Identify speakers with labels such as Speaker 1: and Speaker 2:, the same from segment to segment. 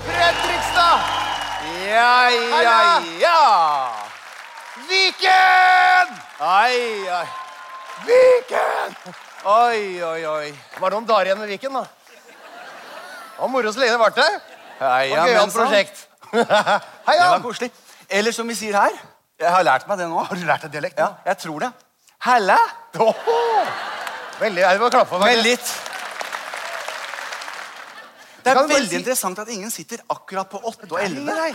Speaker 1: Fredrikstad!
Speaker 2: Ja, ja, ja!
Speaker 1: Viken!
Speaker 2: Ai, ai.
Speaker 1: Viken!
Speaker 2: Oi, oi, oi.
Speaker 1: Var det noen dager igjen med Viken, da? Det var moro så lenge det varte.
Speaker 2: Ai,
Speaker 1: Og
Speaker 2: ja, men
Speaker 1: gøyalt
Speaker 2: sånn.
Speaker 1: prosjekt. Hei,
Speaker 2: Det var
Speaker 1: Jan.
Speaker 2: koselig. Eller som vi sier her Jeg har lært meg det nå.
Speaker 1: Har du lært deg dialekt?
Speaker 2: Ja,
Speaker 1: nå?
Speaker 2: jeg tror det. Helle!
Speaker 1: Åhå! Veldig, jeg må klappe for
Speaker 2: Vent
Speaker 1: meg.
Speaker 2: litt. Det er
Speaker 1: Kan du bare
Speaker 2: veldig
Speaker 1: si-
Speaker 2: interessant at ingen sitter akkurat på 8 og
Speaker 1: Nei,
Speaker 2: 11.
Speaker 1: nei.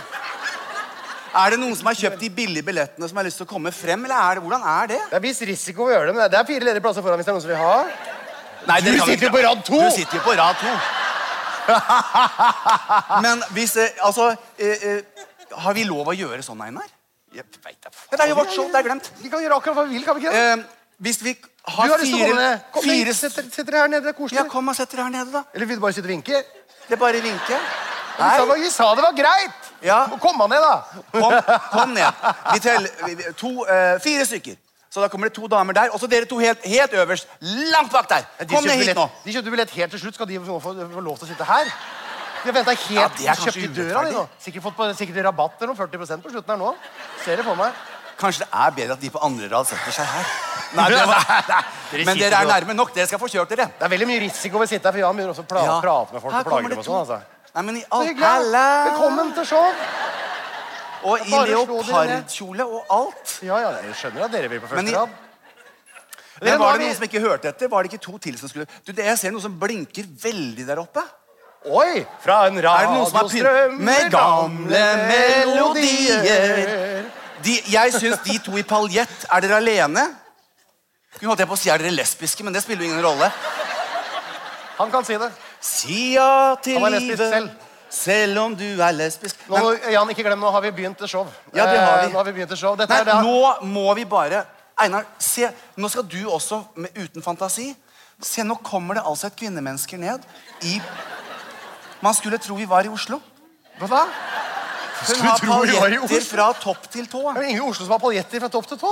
Speaker 2: Er det noen som har kjøpt de billige billettene som har lyst til å komme frem, eller er det, hvordan er det?
Speaker 1: Det er viss risiko å gjøre det, men det er fire ledige plasser foran hvis det er noen som vil ha.
Speaker 2: Nei,
Speaker 1: Du
Speaker 2: dere kan
Speaker 1: sitter
Speaker 2: ikke-
Speaker 1: jo på rad to!
Speaker 2: Du sitter jo på rad to. Men hvis eh, Altså eh, eh, Har vi lov å gjøre sånn, Einar?
Speaker 1: Jeg vet da faen.
Speaker 2: Ja, det er jo vårt show. Det er glemt.
Speaker 1: Vi kan gjøre akkurat hva vi vil, kan vi ikke det?
Speaker 2: Eh, hvis vi har,
Speaker 1: du har lyst til å komme
Speaker 2: fire,
Speaker 1: ned. Kom,
Speaker 2: fire
Speaker 1: Sett dere- sett dere her nede, det er
Speaker 2: Ja,
Speaker 1: koselig.
Speaker 2: kom og sett dere her nede, da.
Speaker 1: Eller vil du bare sitte og vinke?
Speaker 2: Det er bare å vinke.
Speaker 1: Vi sa,
Speaker 2: Her.
Speaker 1: vi sa det var greit!
Speaker 2: Ja.
Speaker 1: Kom han ned, da.
Speaker 2: Kom, kom ned. Vi teller vi- vi- to, eh, fire stykker. Så da kommer det to damer der. Og så dere to helt, helt øverst. Langt bak der.
Speaker 1: Ja,
Speaker 2: Kom ned
Speaker 1: kjøpte
Speaker 2: hit
Speaker 1: billett-
Speaker 2: nå.
Speaker 1: De kjøpte billett helt til slutt. Skal de få, få, få lov til å sitte her? De har venta helt
Speaker 2: Ja, det er
Speaker 1: kjøpt i
Speaker 2: kanskje
Speaker 1: døra. De, nå.
Speaker 2: urettferdig.
Speaker 1: Sikkert fått på, sikkert rabatt eller noe. 40 på slutten her nå. Ser det for meg.
Speaker 2: Kanskje det er bedre at de på andre rad setter seg her. Nei, det var,
Speaker 1: Dere
Speaker 2: men
Speaker 1: sitter
Speaker 2: dere er
Speaker 1: jo-
Speaker 2: nærme nok. Dere skal få kjørt dere.
Speaker 1: Det er veldig mye risiko ved å sitte her, for Jan begynner også å pla
Speaker 2: Ja.
Speaker 1: prate med folk.
Speaker 2: Her
Speaker 1: og plage
Speaker 2: kommer det
Speaker 1: dem og
Speaker 2: to.
Speaker 1: sånn, altså.
Speaker 2: Nei, men i
Speaker 1: Så
Speaker 2: all
Speaker 1: hyggelig, da.
Speaker 2: Halla!
Speaker 1: Velkommen til show!
Speaker 2: Og
Speaker 1: Bare
Speaker 2: i
Speaker 1: slå dere ned.
Speaker 2: leopardkjole og alt.
Speaker 1: Ja, ja, jeg skjønner at dere vil på
Speaker 2: Men i-
Speaker 1: første rad.
Speaker 2: Men
Speaker 1: nå
Speaker 2: var
Speaker 1: har
Speaker 2: det
Speaker 1: vi-
Speaker 2: noen som ikke hørte etter? Var det ikke to til som skulle Du, det- Jeg ser noe som blinker veldig der oppe.
Speaker 1: Oi! Fra en
Speaker 2: Er det noen som har pynt
Speaker 1: radiostrøm
Speaker 2: med gamle melodier? De, jeg syns de to i paljett Er dere alene? Kunne holdt jeg på å si er dere lesbiske, men det spiller jo ingen rolle.
Speaker 1: Han kan si det.
Speaker 2: Si ja til
Speaker 1: Han var lesbisk
Speaker 2: livet
Speaker 1: selv.
Speaker 2: selv om du er lesbisk.
Speaker 1: Nå,
Speaker 2: Nei,
Speaker 1: Jan, ikke glem, nå har vi begynt et show.
Speaker 2: Ja, det har vi.
Speaker 1: Eh, Nå har vi begynt et show. Dette
Speaker 2: Nei,
Speaker 1: er det
Speaker 2: nå må vi bare Einar, se. Nå skal du også, med, uten fantasi Se, nå kommer det altså et kvinnemenneske ned i Man skulle tro vi var i Oslo.
Speaker 1: Hva?
Speaker 2: Hun
Speaker 1: Skulle
Speaker 2: har
Speaker 1: tro vi var i
Speaker 2: paljetter
Speaker 1: Oslo.
Speaker 2: fra topp til tå.
Speaker 1: Det er jo ingen i Oslo som har paljetter fra topp til tå.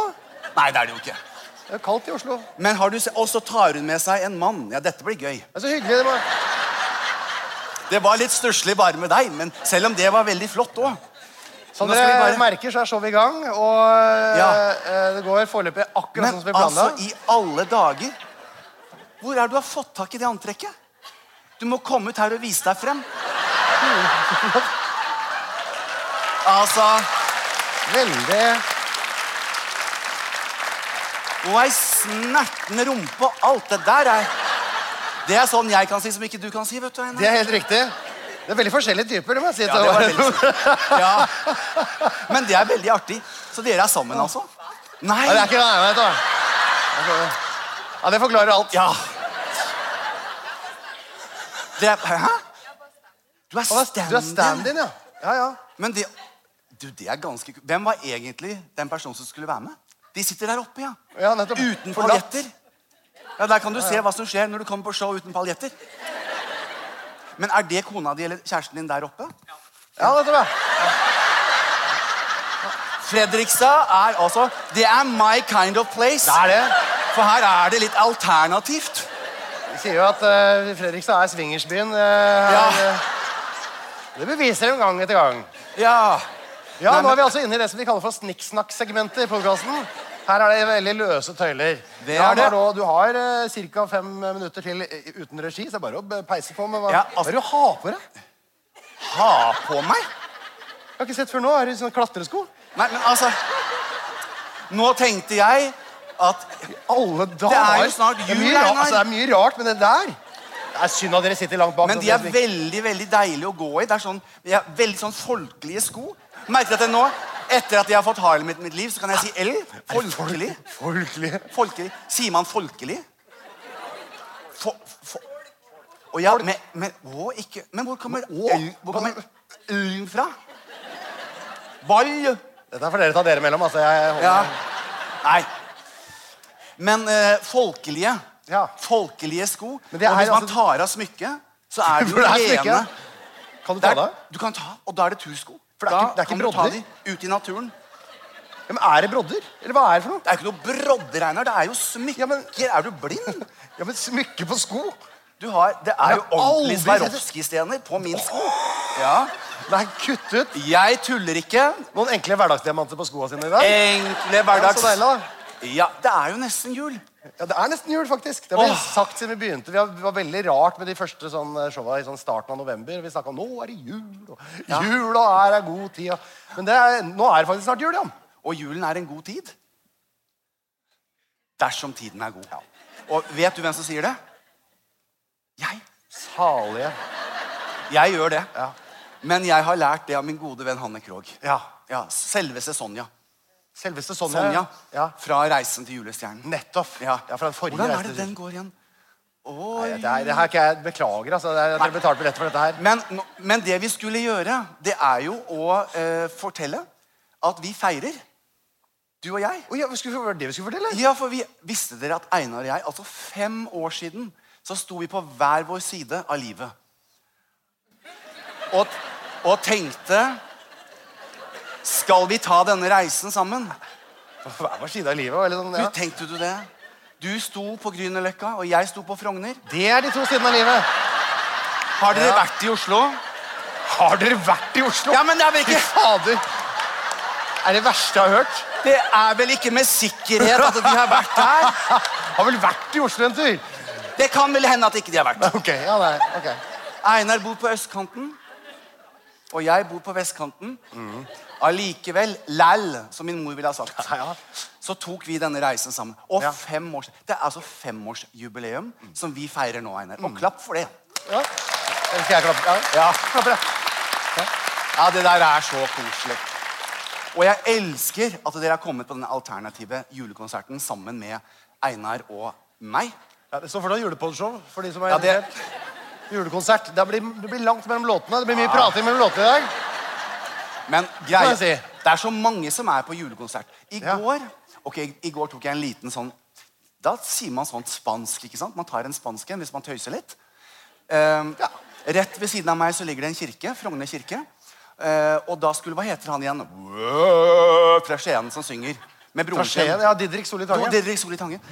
Speaker 2: Nei, det er det jo ikke.
Speaker 1: Det er kaldt i Oslo. Det
Speaker 2: Men har du se, Og så tar hun med seg en mann. Ja, dette blir gøy.
Speaker 1: er så hyggelig. Det var...
Speaker 2: Det var litt stusslig bare med deg, men selv om det var veldig flott òg.
Speaker 1: Som
Speaker 2: Nå
Speaker 1: dere
Speaker 2: skal vi bare-
Speaker 1: Sånn, merker, så er showet i gang. Og eh,
Speaker 2: Ja.
Speaker 1: eh, det går foreløpig akkurat
Speaker 2: Men
Speaker 1: sånn som vi planla.
Speaker 2: altså, i alle dager Hvor er det du har fått tak i det antrekket? Du må komme ut her og vise deg frem. altså
Speaker 1: Veldig
Speaker 2: Og ei snertende rumpe og alt det der er Det er sånn jeg kan si som ikke du kan si, vet du. Einar.
Speaker 1: Det er helt riktig. Det er veldig forskjellige typer. det må jeg si.
Speaker 2: Ja, det var veldig ja. Men det er veldig artig. Så dere er sammen, altså? Nei!
Speaker 1: Nei, det er ikke det. Vet du. Ja, det forklarer alt.
Speaker 2: Ja. Dere er Hæ?
Speaker 1: Han er- Du
Speaker 2: Du er
Speaker 1: er
Speaker 2: stand-in.
Speaker 1: stand-in, ja. Ja, ja.
Speaker 2: Men det, du, det er ganske ku- Hvem var egentlig den personen som skulle være med? De sitter der oppe, ja.
Speaker 1: Ja, nettopp.
Speaker 2: Uten
Speaker 1: Forlatt.
Speaker 2: paljetter. Ja, Der kan du se hva som skjer når du kommer på show uten paljetter. Men er det kona di eller kjæresten din der oppe?
Speaker 1: Ja, nettopp, ja.
Speaker 2: Fredrikstad er altså Det er my kind of place.
Speaker 1: Det er det.
Speaker 2: For her er det litt alternativt.
Speaker 1: De sier jo at eh, Fredrikstad er swingersbyen. eh,
Speaker 2: Ja.
Speaker 1: her, eh. Det beviser de gang etter gang.
Speaker 2: Ja.
Speaker 1: Ja, nå
Speaker 2: Nei, men-
Speaker 1: er vi altså inne i det som vi kaller for snikksnakk-segmentet i podkasten. Her er det veldig løse tøyler.
Speaker 2: Det
Speaker 1: Ja,
Speaker 2: er det.
Speaker 1: Marlo, du har eh, ca. fem minutter til eh, uten regi, så det er bare å eh, peise på. Men hva,
Speaker 2: Ja, altså-
Speaker 1: hva er det du har på deg?
Speaker 2: Ha på meg?
Speaker 1: Jeg har ikke sett før nå. Er det sånne klatresko?
Speaker 2: Nei, men altså Nå tenkte jeg at
Speaker 1: Alle dager!
Speaker 2: jo snart
Speaker 1: Det er mye
Speaker 2: jul,
Speaker 1: ra-
Speaker 2: Einar.
Speaker 1: altså, det er mye rart med det der. Det er synd at dere sitter langt bak.
Speaker 2: Men
Speaker 1: nå,
Speaker 2: de er
Speaker 1: så det-
Speaker 2: veldig veldig deilige å gå i. Det er sånn, de er Veldig sånn folkelige sko. Merker at jeg nå, etter at jeg har fått Harlem i mitt liv, så kan jeg si L. Folkelig.
Speaker 1: Folkelig.
Speaker 2: folkelig. Sier man folkelig? For, for. Og ja, men, men, å, ikke, men hvor kommer
Speaker 1: Å,
Speaker 2: L hvor kommer L fra? Ball.
Speaker 1: Dette er for dere ta dere imellom. Altså, jeg holder-
Speaker 2: Ja. Nei. Men eh, folkelige
Speaker 1: Ja.
Speaker 2: Folkelige sko.
Speaker 1: Men det er
Speaker 2: og hvis man
Speaker 1: altså-
Speaker 2: tar av smykket, så er det
Speaker 1: For
Speaker 2: jo
Speaker 1: det er smykke,
Speaker 2: rene
Speaker 1: ja. Kan du
Speaker 2: Det
Speaker 1: ta
Speaker 2: er-
Speaker 1: det av?
Speaker 2: Du kan ta, og da er det tursko.
Speaker 1: For det er
Speaker 2: da
Speaker 1: ikke- det er ikke
Speaker 2: kan du ta
Speaker 1: brodder.
Speaker 2: de ut i naturen.
Speaker 1: Ja, men er det brodder? Eller hva er det for noe?
Speaker 2: Det er ikke noe brodder, Einar. Det er jo smykker.
Speaker 1: Ja, men-
Speaker 2: Er du blind?
Speaker 1: Ja, men Smykke på sko?
Speaker 2: Du har, det er
Speaker 1: Jeg
Speaker 2: jo
Speaker 1: har aldri
Speaker 2: ordentlige
Speaker 1: sett det.
Speaker 2: Swarovski-stener på min sko. Ja.
Speaker 1: Nei, kutt ut
Speaker 2: Jeg tuller ikke.
Speaker 1: noen enkle hverdagsdiamanter på skoene sine i dag.
Speaker 2: Enkle
Speaker 1: Ja,
Speaker 2: Eh, hverdags...
Speaker 1: så deilig, da.
Speaker 2: Ja, det er jo nesten jul.
Speaker 1: Ja, Det er nesten jul, faktisk. Det har vi
Speaker 2: Åh.
Speaker 1: sagt siden vi begynte. Vi har, det var veldig rart med de første sånn eh, showa i sånn starten av november. Vi snakka om nå er det jul, og jula er en god tid. og- Men det er, nå er det faktisk snart jul, ja.
Speaker 2: Og julen er en god tid. Dersom tiden er god. Og vet du hvem som sier det? Jeg.
Speaker 1: Salige.
Speaker 2: Jeg gjør det.
Speaker 1: Ja.
Speaker 2: Men jeg har lært det av min gode venn Hanne Krogh.
Speaker 1: Ja.
Speaker 2: Ja, Selveste Sonja.
Speaker 1: Selveste Sonja.
Speaker 2: Sonja
Speaker 1: Ja.
Speaker 2: fra 'Reisen til julestjernen'.
Speaker 1: Nettopp.
Speaker 2: Ja.
Speaker 1: Ja, fra den forrige
Speaker 2: Hvordan er
Speaker 1: Reisen
Speaker 2: det
Speaker 1: til-
Speaker 2: den går igjen?
Speaker 1: Nei, Det, er, det her kan jeg beklager, altså. Det er, dere betalte billett for dette her.
Speaker 2: Men, nå- men det vi skulle gjøre, det er jo å eh, fortelle at vi feirer. Du og jeg.
Speaker 1: Oi, ja, skulle, var det det vi skulle fortelle?
Speaker 2: Ja, for vi visste dere at Einar og jeg, altså fem år siden, så sto vi på hver vår side av livet. Og, og tenkte Skal vi ta denne reisen sammen?
Speaker 1: På hver vår side av livet. Eller sånn,
Speaker 2: Du,
Speaker 1: ja.
Speaker 2: tenkte du det? Du sto på Grünerløkka, og jeg sto på Frogner.
Speaker 1: Det er de to sidene av livet.
Speaker 2: Har dere
Speaker 1: Ja.
Speaker 2: vært i Oslo?
Speaker 1: Har dere vært i Oslo?
Speaker 2: Ja, men det er vel
Speaker 1: Fy
Speaker 2: ikke
Speaker 1: fader. Er det verste jeg har hørt?
Speaker 2: Det er vel ikke med sikkerhet at de har vært her?
Speaker 1: Har vel vært i Oslo en tur?
Speaker 2: Det kan vel hende at ikke de har vært.
Speaker 1: Ok, ja, nei, ok.
Speaker 2: Einar bor på østkanten, og jeg bor på vestkanten. Allikevel, læll, som min mor ville ha sagt,
Speaker 1: Mhm. Ja, ja.
Speaker 2: så tok vi denne reisen sammen. Og
Speaker 1: Ja. Mm.
Speaker 2: fem års, Det er altså femårsjubileum som vi feirer nå, Einar. Og klapp for det.
Speaker 1: Ja. Eller skal jeg klappe? Mm. Ja.
Speaker 2: Ja.
Speaker 1: Klapper, jeg.
Speaker 2: ja, det der er så koselig. Og jeg elsker at dere har kommet på denne alternative julekonserten sammen med Einar og meg.
Speaker 1: ja. Det står fortsatt julepodshow for de som er
Speaker 2: Ja, det-
Speaker 1: interessert. Julekonsert. Det blir, det blir langt mellom låtene. Det blir mye prating mellom låtene i dag.
Speaker 2: Men greia,
Speaker 1: Kan jeg
Speaker 2: det er så mange som er på julekonsert. I
Speaker 1: Ja.
Speaker 2: går ok, i går tok jeg en liten sånn Da sier man sånn spansk. ikke sant? Man tar en spansk en hvis man tøyser litt. Ehm, Rett ved siden av meg så ligger det en kirke. Frogner kirke. Eh, og da skulle Hva heter han igjen? Fra Skien som synger. Med
Speaker 1: Fra
Speaker 2: broren sin.
Speaker 1: Skien. Ja, Didrik Solli
Speaker 2: Do-
Speaker 1: Tangen.
Speaker 2: Didrik Solli Tangen.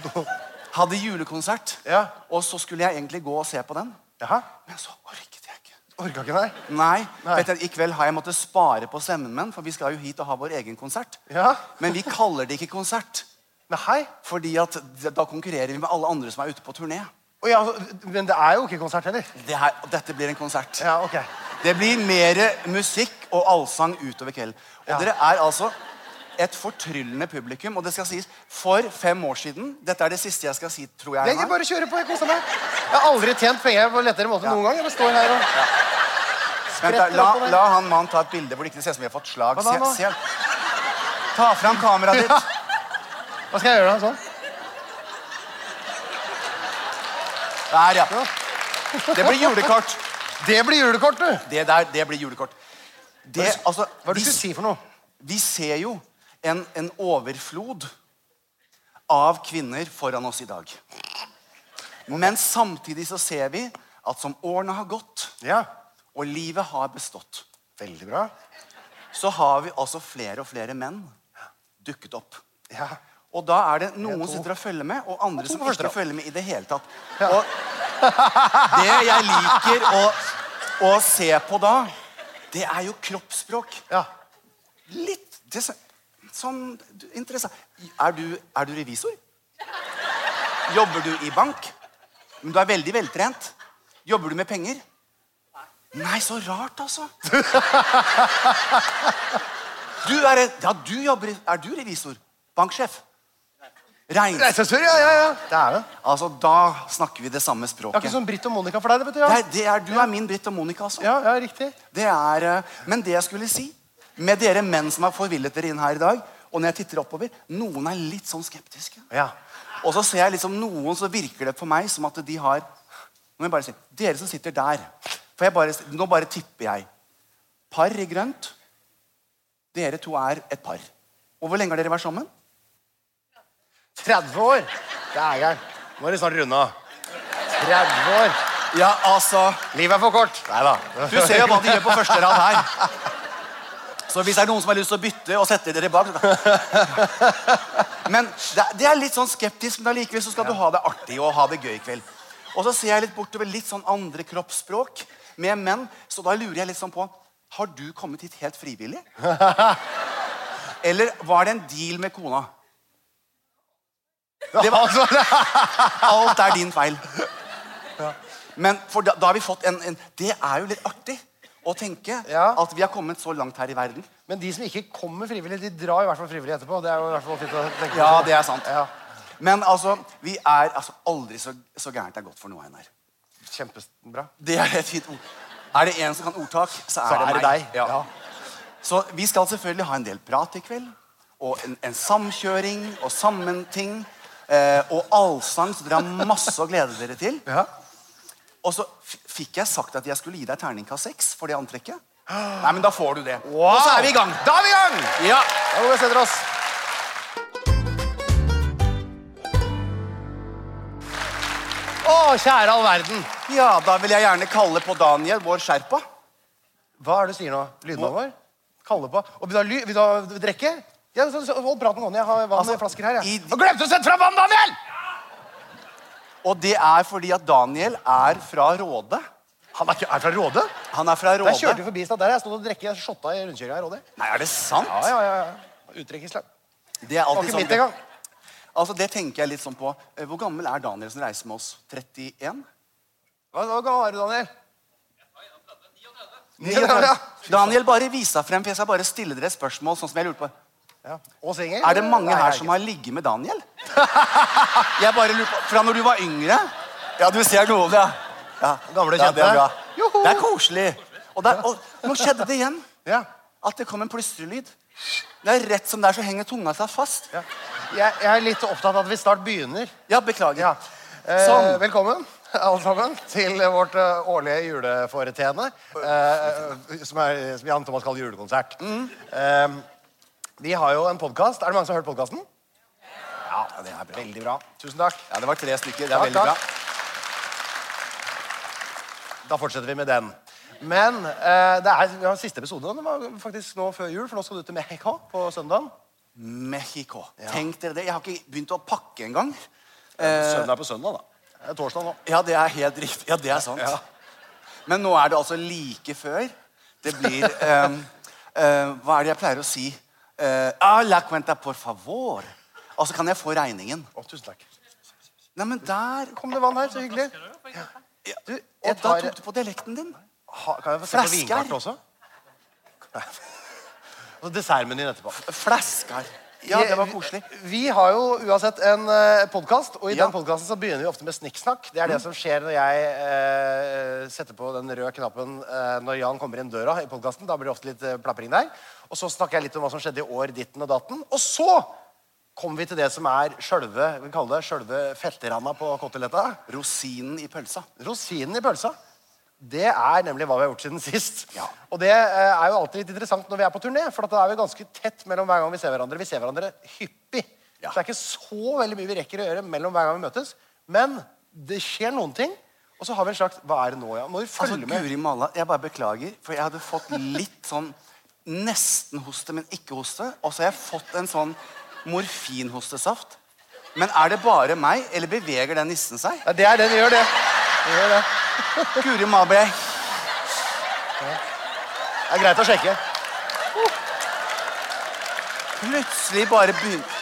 Speaker 2: Hadde julekonsert.
Speaker 1: Ja.
Speaker 2: Og så skulle jeg egentlig gå og se på den.
Speaker 1: Jaha.
Speaker 2: Men så orket jeg ikke.
Speaker 1: Orka ikke, nei.
Speaker 2: Nei.
Speaker 1: Nei.
Speaker 2: Vet du, I kveld har jeg måttet spare på stemmen min, for vi skal jo hit og ha vår egen konsert.
Speaker 1: Ja.
Speaker 2: Men vi kaller det ikke konsert,
Speaker 1: Men hei.
Speaker 2: fordi at d- da konkurrerer vi med alle andre som er ute på turné.
Speaker 1: Å, ja, men det er jo ikke konsert heller.
Speaker 2: Det her, og dette blir en konsert.
Speaker 1: Ja, ok.
Speaker 2: Det blir mer musikk og allsang utover kvelden. Og
Speaker 1: Ja.
Speaker 2: dere er altså et fortryllende publikum. Og det skal sies, for fem år siden Dette er det siste jeg skal si, tror jeg.
Speaker 1: Jeg
Speaker 2: Einar.
Speaker 1: kan bare kjøre på. Jeg koser meg. Jeg har aldri tjent penger på en lettere måte
Speaker 2: Ja.
Speaker 1: noen gang. Jeg bare står her og
Speaker 2: Vent da,
Speaker 1: spretter
Speaker 2: la,
Speaker 1: oppover.
Speaker 2: la han mannen ta et bilde hvor det ikke ser ut som vi har fått slag.
Speaker 1: Hva da nå?
Speaker 2: Se, se. Ta fram kameraet ditt.
Speaker 1: Hva skal jeg gjøre da? Sånn?
Speaker 2: Der, ja. Det blir julekort.
Speaker 1: Det blir julekort, du!
Speaker 2: Det der, det blir julekort. Det, altså,
Speaker 1: Hva er det
Speaker 2: vi,
Speaker 1: du skulle si for noe?
Speaker 2: vi ser jo en, en overflod av kvinner foran oss i dag. Men samtidig så ser vi at som årene har gått,
Speaker 1: Ja.
Speaker 2: og livet har bestått,
Speaker 1: Veldig bra.
Speaker 2: så har vi altså flere og flere menn dukket opp.
Speaker 1: Ja.
Speaker 2: Og da er det noen
Speaker 1: to.
Speaker 2: som sitter og følger med, og andre
Speaker 1: Og to
Speaker 2: som
Speaker 1: på første
Speaker 2: ikke
Speaker 1: rad.
Speaker 2: følger med i det hele tatt. Og det jeg liker å, å se på da, det er jo kroppsspråk.
Speaker 1: ja.
Speaker 2: Litt det, som- Sånn du- interessant. Er du, er du revisor? Jobber du i bank? Men du er veldig veltrent. Jobber du med penger? Nei, så rart, altså. Du er, ja, du jobber, i- er du revisor? Banksjef? Regn...
Speaker 1: Reisesør, ja, ja, ja. Det er det.
Speaker 2: Altså, da snakker vi det samme
Speaker 1: Det er ikke
Speaker 2: språket.
Speaker 1: sånn Britt og Monica for deg, det, vet du.
Speaker 2: Det
Speaker 1: Ja,
Speaker 2: er, det er, du er min Britt og Monica, altså.
Speaker 1: ja, ja riktig.
Speaker 2: Det er, eh, men det jeg skulle si Med dere menn som har forvillet dere inn her i dag Og når jeg titter oppover Noen er litt sånn skeptiske
Speaker 1: Ja.
Speaker 2: Og så ser jeg liksom noen så virker det på meg Som at de har Nå må jeg bare si Dere som sitter der For jeg bare, nå bare tipper jeg Par i grønt Dere to er et par Og hvor lenge har dere vært sammen?
Speaker 1: 30 år. Det er gærent. Nå er det snart runda. 30 år.
Speaker 2: Ja, altså
Speaker 1: Livet er for kort. Nei da.
Speaker 2: Du ser jo hva de gjør på første rad her. Så hvis det er noen som har lyst til å bytte og sette dere bak Men det, det er litt sånn skeptisk, men allikevel så skal du ha det artig og ha det gøy i kveld. Og så ser jeg litt bortover litt sånn andre kroppsspråk med menn. Så da lurer jeg litt sånn på Har du kommet hit helt frivillig? Eller var det en deal med kona?
Speaker 1: Det var altså
Speaker 2: Alt er din feil. Men for da, da har vi fått en, en Det er jo litt artig å tenke
Speaker 1: Ja.
Speaker 2: at vi har kommet så langt her i verden.
Speaker 1: Men de som ikke kommer frivillig, de drar i hvert fall frivillig etterpå. Det er jo i hvert fall fint å tenke på.
Speaker 2: Ja, det er sant.
Speaker 1: Ja.
Speaker 2: Men altså, vi er altså, aldri så, så gærent det er godt for noe, Einar.
Speaker 1: Kjempebra.
Speaker 2: Det er et fint ord. Er det en som kan ordtak, så er,
Speaker 1: Så er
Speaker 2: det,
Speaker 1: det
Speaker 2: meg.
Speaker 1: deg.
Speaker 2: Ja.
Speaker 1: Ja.
Speaker 2: Så vi skal selvfølgelig ha en del prat i kveld. Og en, en samkjøring og sammenting. Eh, og allsang, så dere har masse å glede dere til.
Speaker 1: Ja.
Speaker 2: Og så f- fikk jeg sagt at jeg skulle gi deg terningkast seks for det antrekket. Nei, men da får du det.
Speaker 1: Wow!
Speaker 2: Og så er vi i gang.
Speaker 1: Da er vi i gang!
Speaker 2: Ja.
Speaker 1: Da må vi sette oss. Å, kjære all verden.
Speaker 2: ja, da vil jeg gjerne kalle på Daniel, vår sherpa.
Speaker 1: Hva er det du sier nå? Lydmannen vår? Kalle på. Og vil du ha, ly vil du ha drikke? Ja, så, så, hold praten gående. Jeg har
Speaker 2: Altså,
Speaker 1: vannflasker her.
Speaker 2: i-
Speaker 1: Jeg. Og glemte du å sette fram vann, Daniel!
Speaker 2: Og det er fordi at Daniel er fra Råde.
Speaker 1: Han er, ikke, er fra Råde.
Speaker 2: Han er fra
Speaker 1: Der kjørte vi
Speaker 2: Råde.
Speaker 1: forbi i stad. Der jeg stod og drekket jeg shotta i rundkjøringa i Råde.
Speaker 2: Nei, er det sant?
Speaker 1: Ja, ja, ja. ja. Uttrekk i slag.
Speaker 2: Det er
Speaker 1: Var
Speaker 2: alltid
Speaker 1: ikke mitt
Speaker 2: sånn.
Speaker 1: engang.
Speaker 2: Altså, det tenker jeg litt sånn på. Eh, Hvor gammel er Daniel som reiser med oss? 31?
Speaker 1: Hva hva gammel er du, Daniel? 39, ja.
Speaker 2: 39. Daniel, bare vis deg frem, for jeg skal bare stille dere et spørsmål. sånn som jeg lurte på.
Speaker 1: ja. Og singel?
Speaker 2: Er det mange
Speaker 1: Nei, jeg
Speaker 2: her
Speaker 1: er
Speaker 2: som
Speaker 1: ikke.
Speaker 2: har ligget med Daniel? Jeg bare lurer på, Fra når du var yngre? Ja, du ser noe av det. Ja.
Speaker 1: Gamle
Speaker 2: Ja, det
Speaker 1: kjente.
Speaker 2: er bra.
Speaker 1: Joho!
Speaker 2: Det er koselig. Og, det er- og nå skjedde det igjen.
Speaker 1: Ja.
Speaker 2: At det kom en plystrelyd. Det er rett som det er, så henger tunga seg fast.
Speaker 1: Ja. Jeg, jeg er litt opptatt av at vi snart begynner.
Speaker 2: Ja, beklager.
Speaker 1: Ja. Eh,
Speaker 2: Sånn.
Speaker 1: Velkommen alle sammen til eh, vårt eh, årlige juleforeteende. Eh, som, er, som Jan Thomas kaller julekonsert. Eh, vi har jo en podkast. Er det mange som har hørt podkasten? Ja, det er bra. Veldig bra. Tusen takk.
Speaker 2: Ja, det var tre stykker. Det er
Speaker 1: Takk,
Speaker 2: veldig
Speaker 1: takk.
Speaker 2: bra.
Speaker 1: Da fortsetter vi med den. Men eh, det er, vi har siste episode. Den var faktisk nå før jul, for nå skal du til Mexico på søndag.
Speaker 2: Mexico. Tenk dere det. Jeg har ikke begynt å pakke engang.
Speaker 1: Søndag på søndag, da. Eh. Det er torsdag nå.
Speaker 2: Ja, det er helt riktig. Ja, det er sant.
Speaker 1: Ja.
Speaker 2: Men nå er det altså like før. Det blir eh, eh, Hva er det jeg pleier å si? Eh, ah, la cuenta, por favor. Og så kan jeg få regningen.
Speaker 1: Å, tusen takk.
Speaker 2: Nei, men der
Speaker 1: Kom det vann her, så hyggelig. Du,
Speaker 2: Og
Speaker 1: jeg
Speaker 2: da
Speaker 1: tar,
Speaker 2: tok du på dialekten din.
Speaker 1: ha, kan jeg få se på
Speaker 2: Flasker.
Speaker 1: vinkartet også? Nei. Og dessertmenyen etterpå.
Speaker 2: Flasker. Ja, det var koselig.
Speaker 1: Vi har jo uansett en uh, podkast, og i
Speaker 2: Ja.
Speaker 1: den podkasten så begynner vi ofte med snikksnakk. Det er det som skjer når jeg eh, setter på den røde knappen eh, når Jan kommer inn døra i podkasten. Da blir det ofte litt eh, plapring der. Og så snakker jeg litt om hva som skjedde i år, ditten og datten. Og så kommer vi til det som er sjølve vi kaller det sjølve fetteranda på kotteletta.
Speaker 2: Rosinen i pølsa.
Speaker 1: Rosinen i pølsa. Det er nemlig hva vi har gjort siden sist.
Speaker 2: Ja.
Speaker 1: Og det eh, er jo alltid litt interessant når vi er på turné, for at da er vi ganske tett mellom hver gang vi ser hverandre. Vi ser hverandre hyppig. Så det er ikke så veldig mye vi rekker å gjøre mellom hver gang vi møtes. Men det skjer noen ting, og så har vi en slags Hva er det nå, ja? Må vi følge
Speaker 2: Altså,
Speaker 1: med?
Speaker 2: Guri malla, jeg bare beklager, for jeg hadde fått litt sånn nesten-hoste, men ikke-hoste. Og så har jeg fått en sånn morfinhostesaft. Men er det bare meg, eller beveger den nissen seg?
Speaker 1: Ja, det er det vi gjør, det. Vi gjør det.
Speaker 2: Guri malla, ble jeg
Speaker 1: det er greit å sjekke.
Speaker 2: plutselig bare begynt...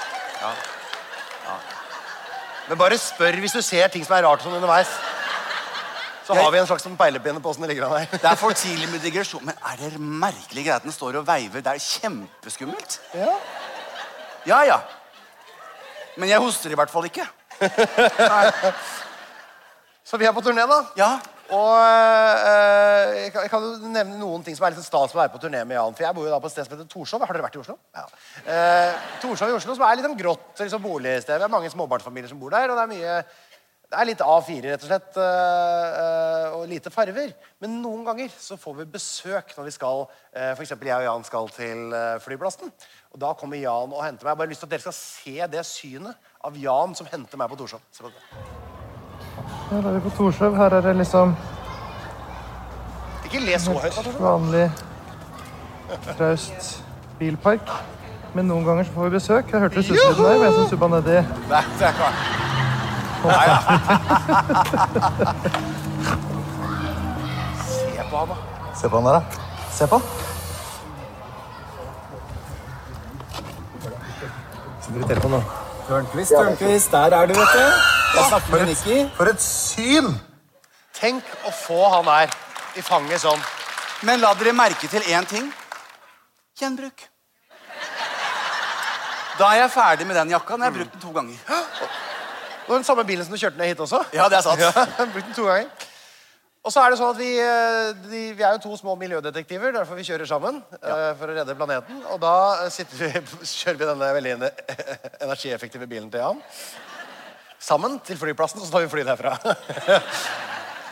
Speaker 1: Men bare spør hvis du ser ting som er rart sånn underveis. Så
Speaker 2: Jeg-
Speaker 1: har vi en slags sånn peilepinne på åssen det ligger an her.
Speaker 2: Det er for tidlig med digresjon. Men er det merkelig greit at den står og veiver? Det er kjempeskummelt.
Speaker 1: Ja.
Speaker 2: Ja, ja. Men jeg hoster i hvert fall ikke. Nei.
Speaker 1: Så vi er på turné, da.
Speaker 2: Ja.
Speaker 1: Og eh, jeg kan- jeg kan jo nevne noen ting som er litt sånn stas med å være på turné med Jan. For jeg bor jo da på et sted som heter Torshov. Har dere vært i Oslo? Ja. Eh, Torshov i Oslo, som er litt sånn grått liksom, boligsted. Det er mange småbarnsfamilier som bor der, og det er mye det er litt A4, rett og slett, eh, eh, og lite farver. Men noen ganger så får vi besøk når vi skal eh, for eksempel jeg og Jan skal til eh, flyplassen. Og da kommer Jan og henter meg. Jeg har bare lyst til at dere skal se det synet av Jan som henter meg på Torshov. Se på det.
Speaker 3: Her er vi på Torshov. Her er det liksom
Speaker 1: Ikke le så høyt. da, Torshov.
Speaker 3: vanlig, traust bilpark. Men noen ganger så får vi besøk. Jeg hørte det suset der, men jeg som subba nedi.
Speaker 2: Nei, det er ikke
Speaker 1: Se på han, da.
Speaker 4: Se på han der, da. Se på han. Sitter du i telefonen nå?
Speaker 5: Tørnquist, Tørnquist, der er du, vet du. Jeg snakker med Nikki.
Speaker 4: For et syn!
Speaker 1: Tenk å få han her i fanget sånn.
Speaker 2: Men la dere merke til én ting. Gjenbruk. Da er jeg ferdig med den jakka. Den har jeg brukt den to ganger.
Speaker 1: Det var den samme bilen som du kjørte ned hit også.
Speaker 2: Ja, det er sant.
Speaker 1: Brukt den to ganger. Og så er det sånn at vi, eh, de, vi er jo to små miljødetektiver, derfor vi kjører sammen. eh, For å redde planeten. Og da eh, sitter vi, kjører vi denne veldig ener- energieffektive bilen til Jan. Sammen til flyplassen, så tar vi fly derfra.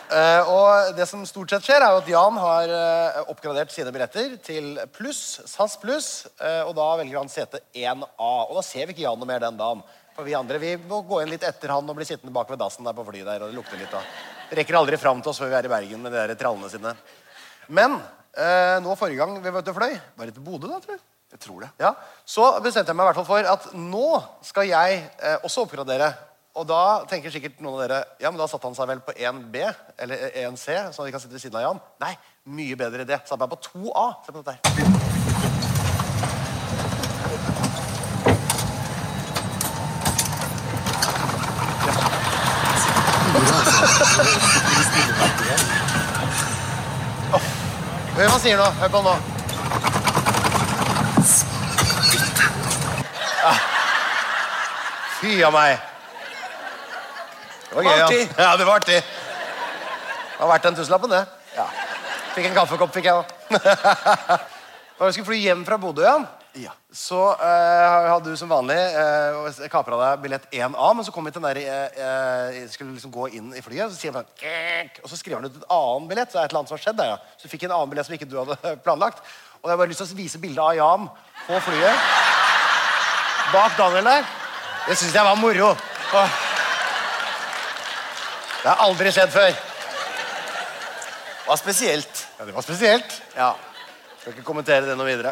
Speaker 1: Eh, og det som stort sett skjer, er jo at Jan har eh, oppgradert sine billetter til pluss, SAS pluss, eh, og da velger han sete 1A. Og da ser vi ikke Jan noe mer den dagen. For vi andre vi må gå inn litt etter han og bli sittende bak ved dassen der på flyet der, og det lukter litt da. Rekker aldri fram til oss før vi er i Bergen med de der trallene sine. Men eh, nå forrige gang vi var ute og fløy, var det til Bodø da, tror du?
Speaker 2: Jeg tror det.
Speaker 1: Ja, Så bestemte jeg meg i hvert fall for at nå skal jeg eh, også oppgradere. Og da tenker sikkert noen av dere ja, men da satte han seg vel på 1B eller eh, 1C, så vi kan sitte ved siden av Jan. Nei, mye bedre idé. Satte meg på 2A. Se på dette her. Åh, Hør hva han sier nå. Hør på han nå. Fy av meg. Det var gøy, ja.
Speaker 2: Artig.
Speaker 1: Ja, det var artig. Det har vært den tusenlappen, det. Ja. Fikk en kaffekopp, fikk jeg òg. Da vi skulle fly hjem fra Bodø, Jan,
Speaker 2: Ja.
Speaker 1: så eh, hadde du som vanlig uh, kapra deg billett 1A, men så kom vi til den der eh, eh, Skulle liksom gå inn i flyet, så sier han sånn «Kek», Og så skriver han ut en annen billett. Så er det et eller annet som har skjedd der, ja. Så du fikk en annen billett som ikke du hadde planlagt. Og jeg har bare lyst til å vise bildet av Jan på flyet bak Daniel der. Det syns jeg var moro. Åh. Det har aldri skjedd før.
Speaker 2: Det var spesielt.
Speaker 1: Ja, Det var spesielt.
Speaker 2: Ja.
Speaker 1: Skal ikke kommentere det noe videre.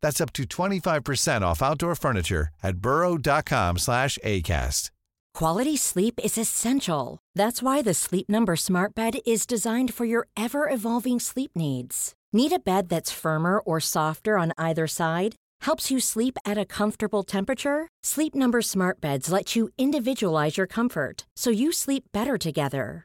Speaker 6: That's up to 25% off outdoor furniture at burrow.com slash ACAST.
Speaker 7: Quality sleep is essential. That's why the Sleep Number Smart Bed is designed for your ever evolving sleep needs. Need a bed that's firmer or softer on either side? Helps you sleep at a comfortable temperature? Sleep Number Smart Beds let you individualize your comfort so you sleep better together.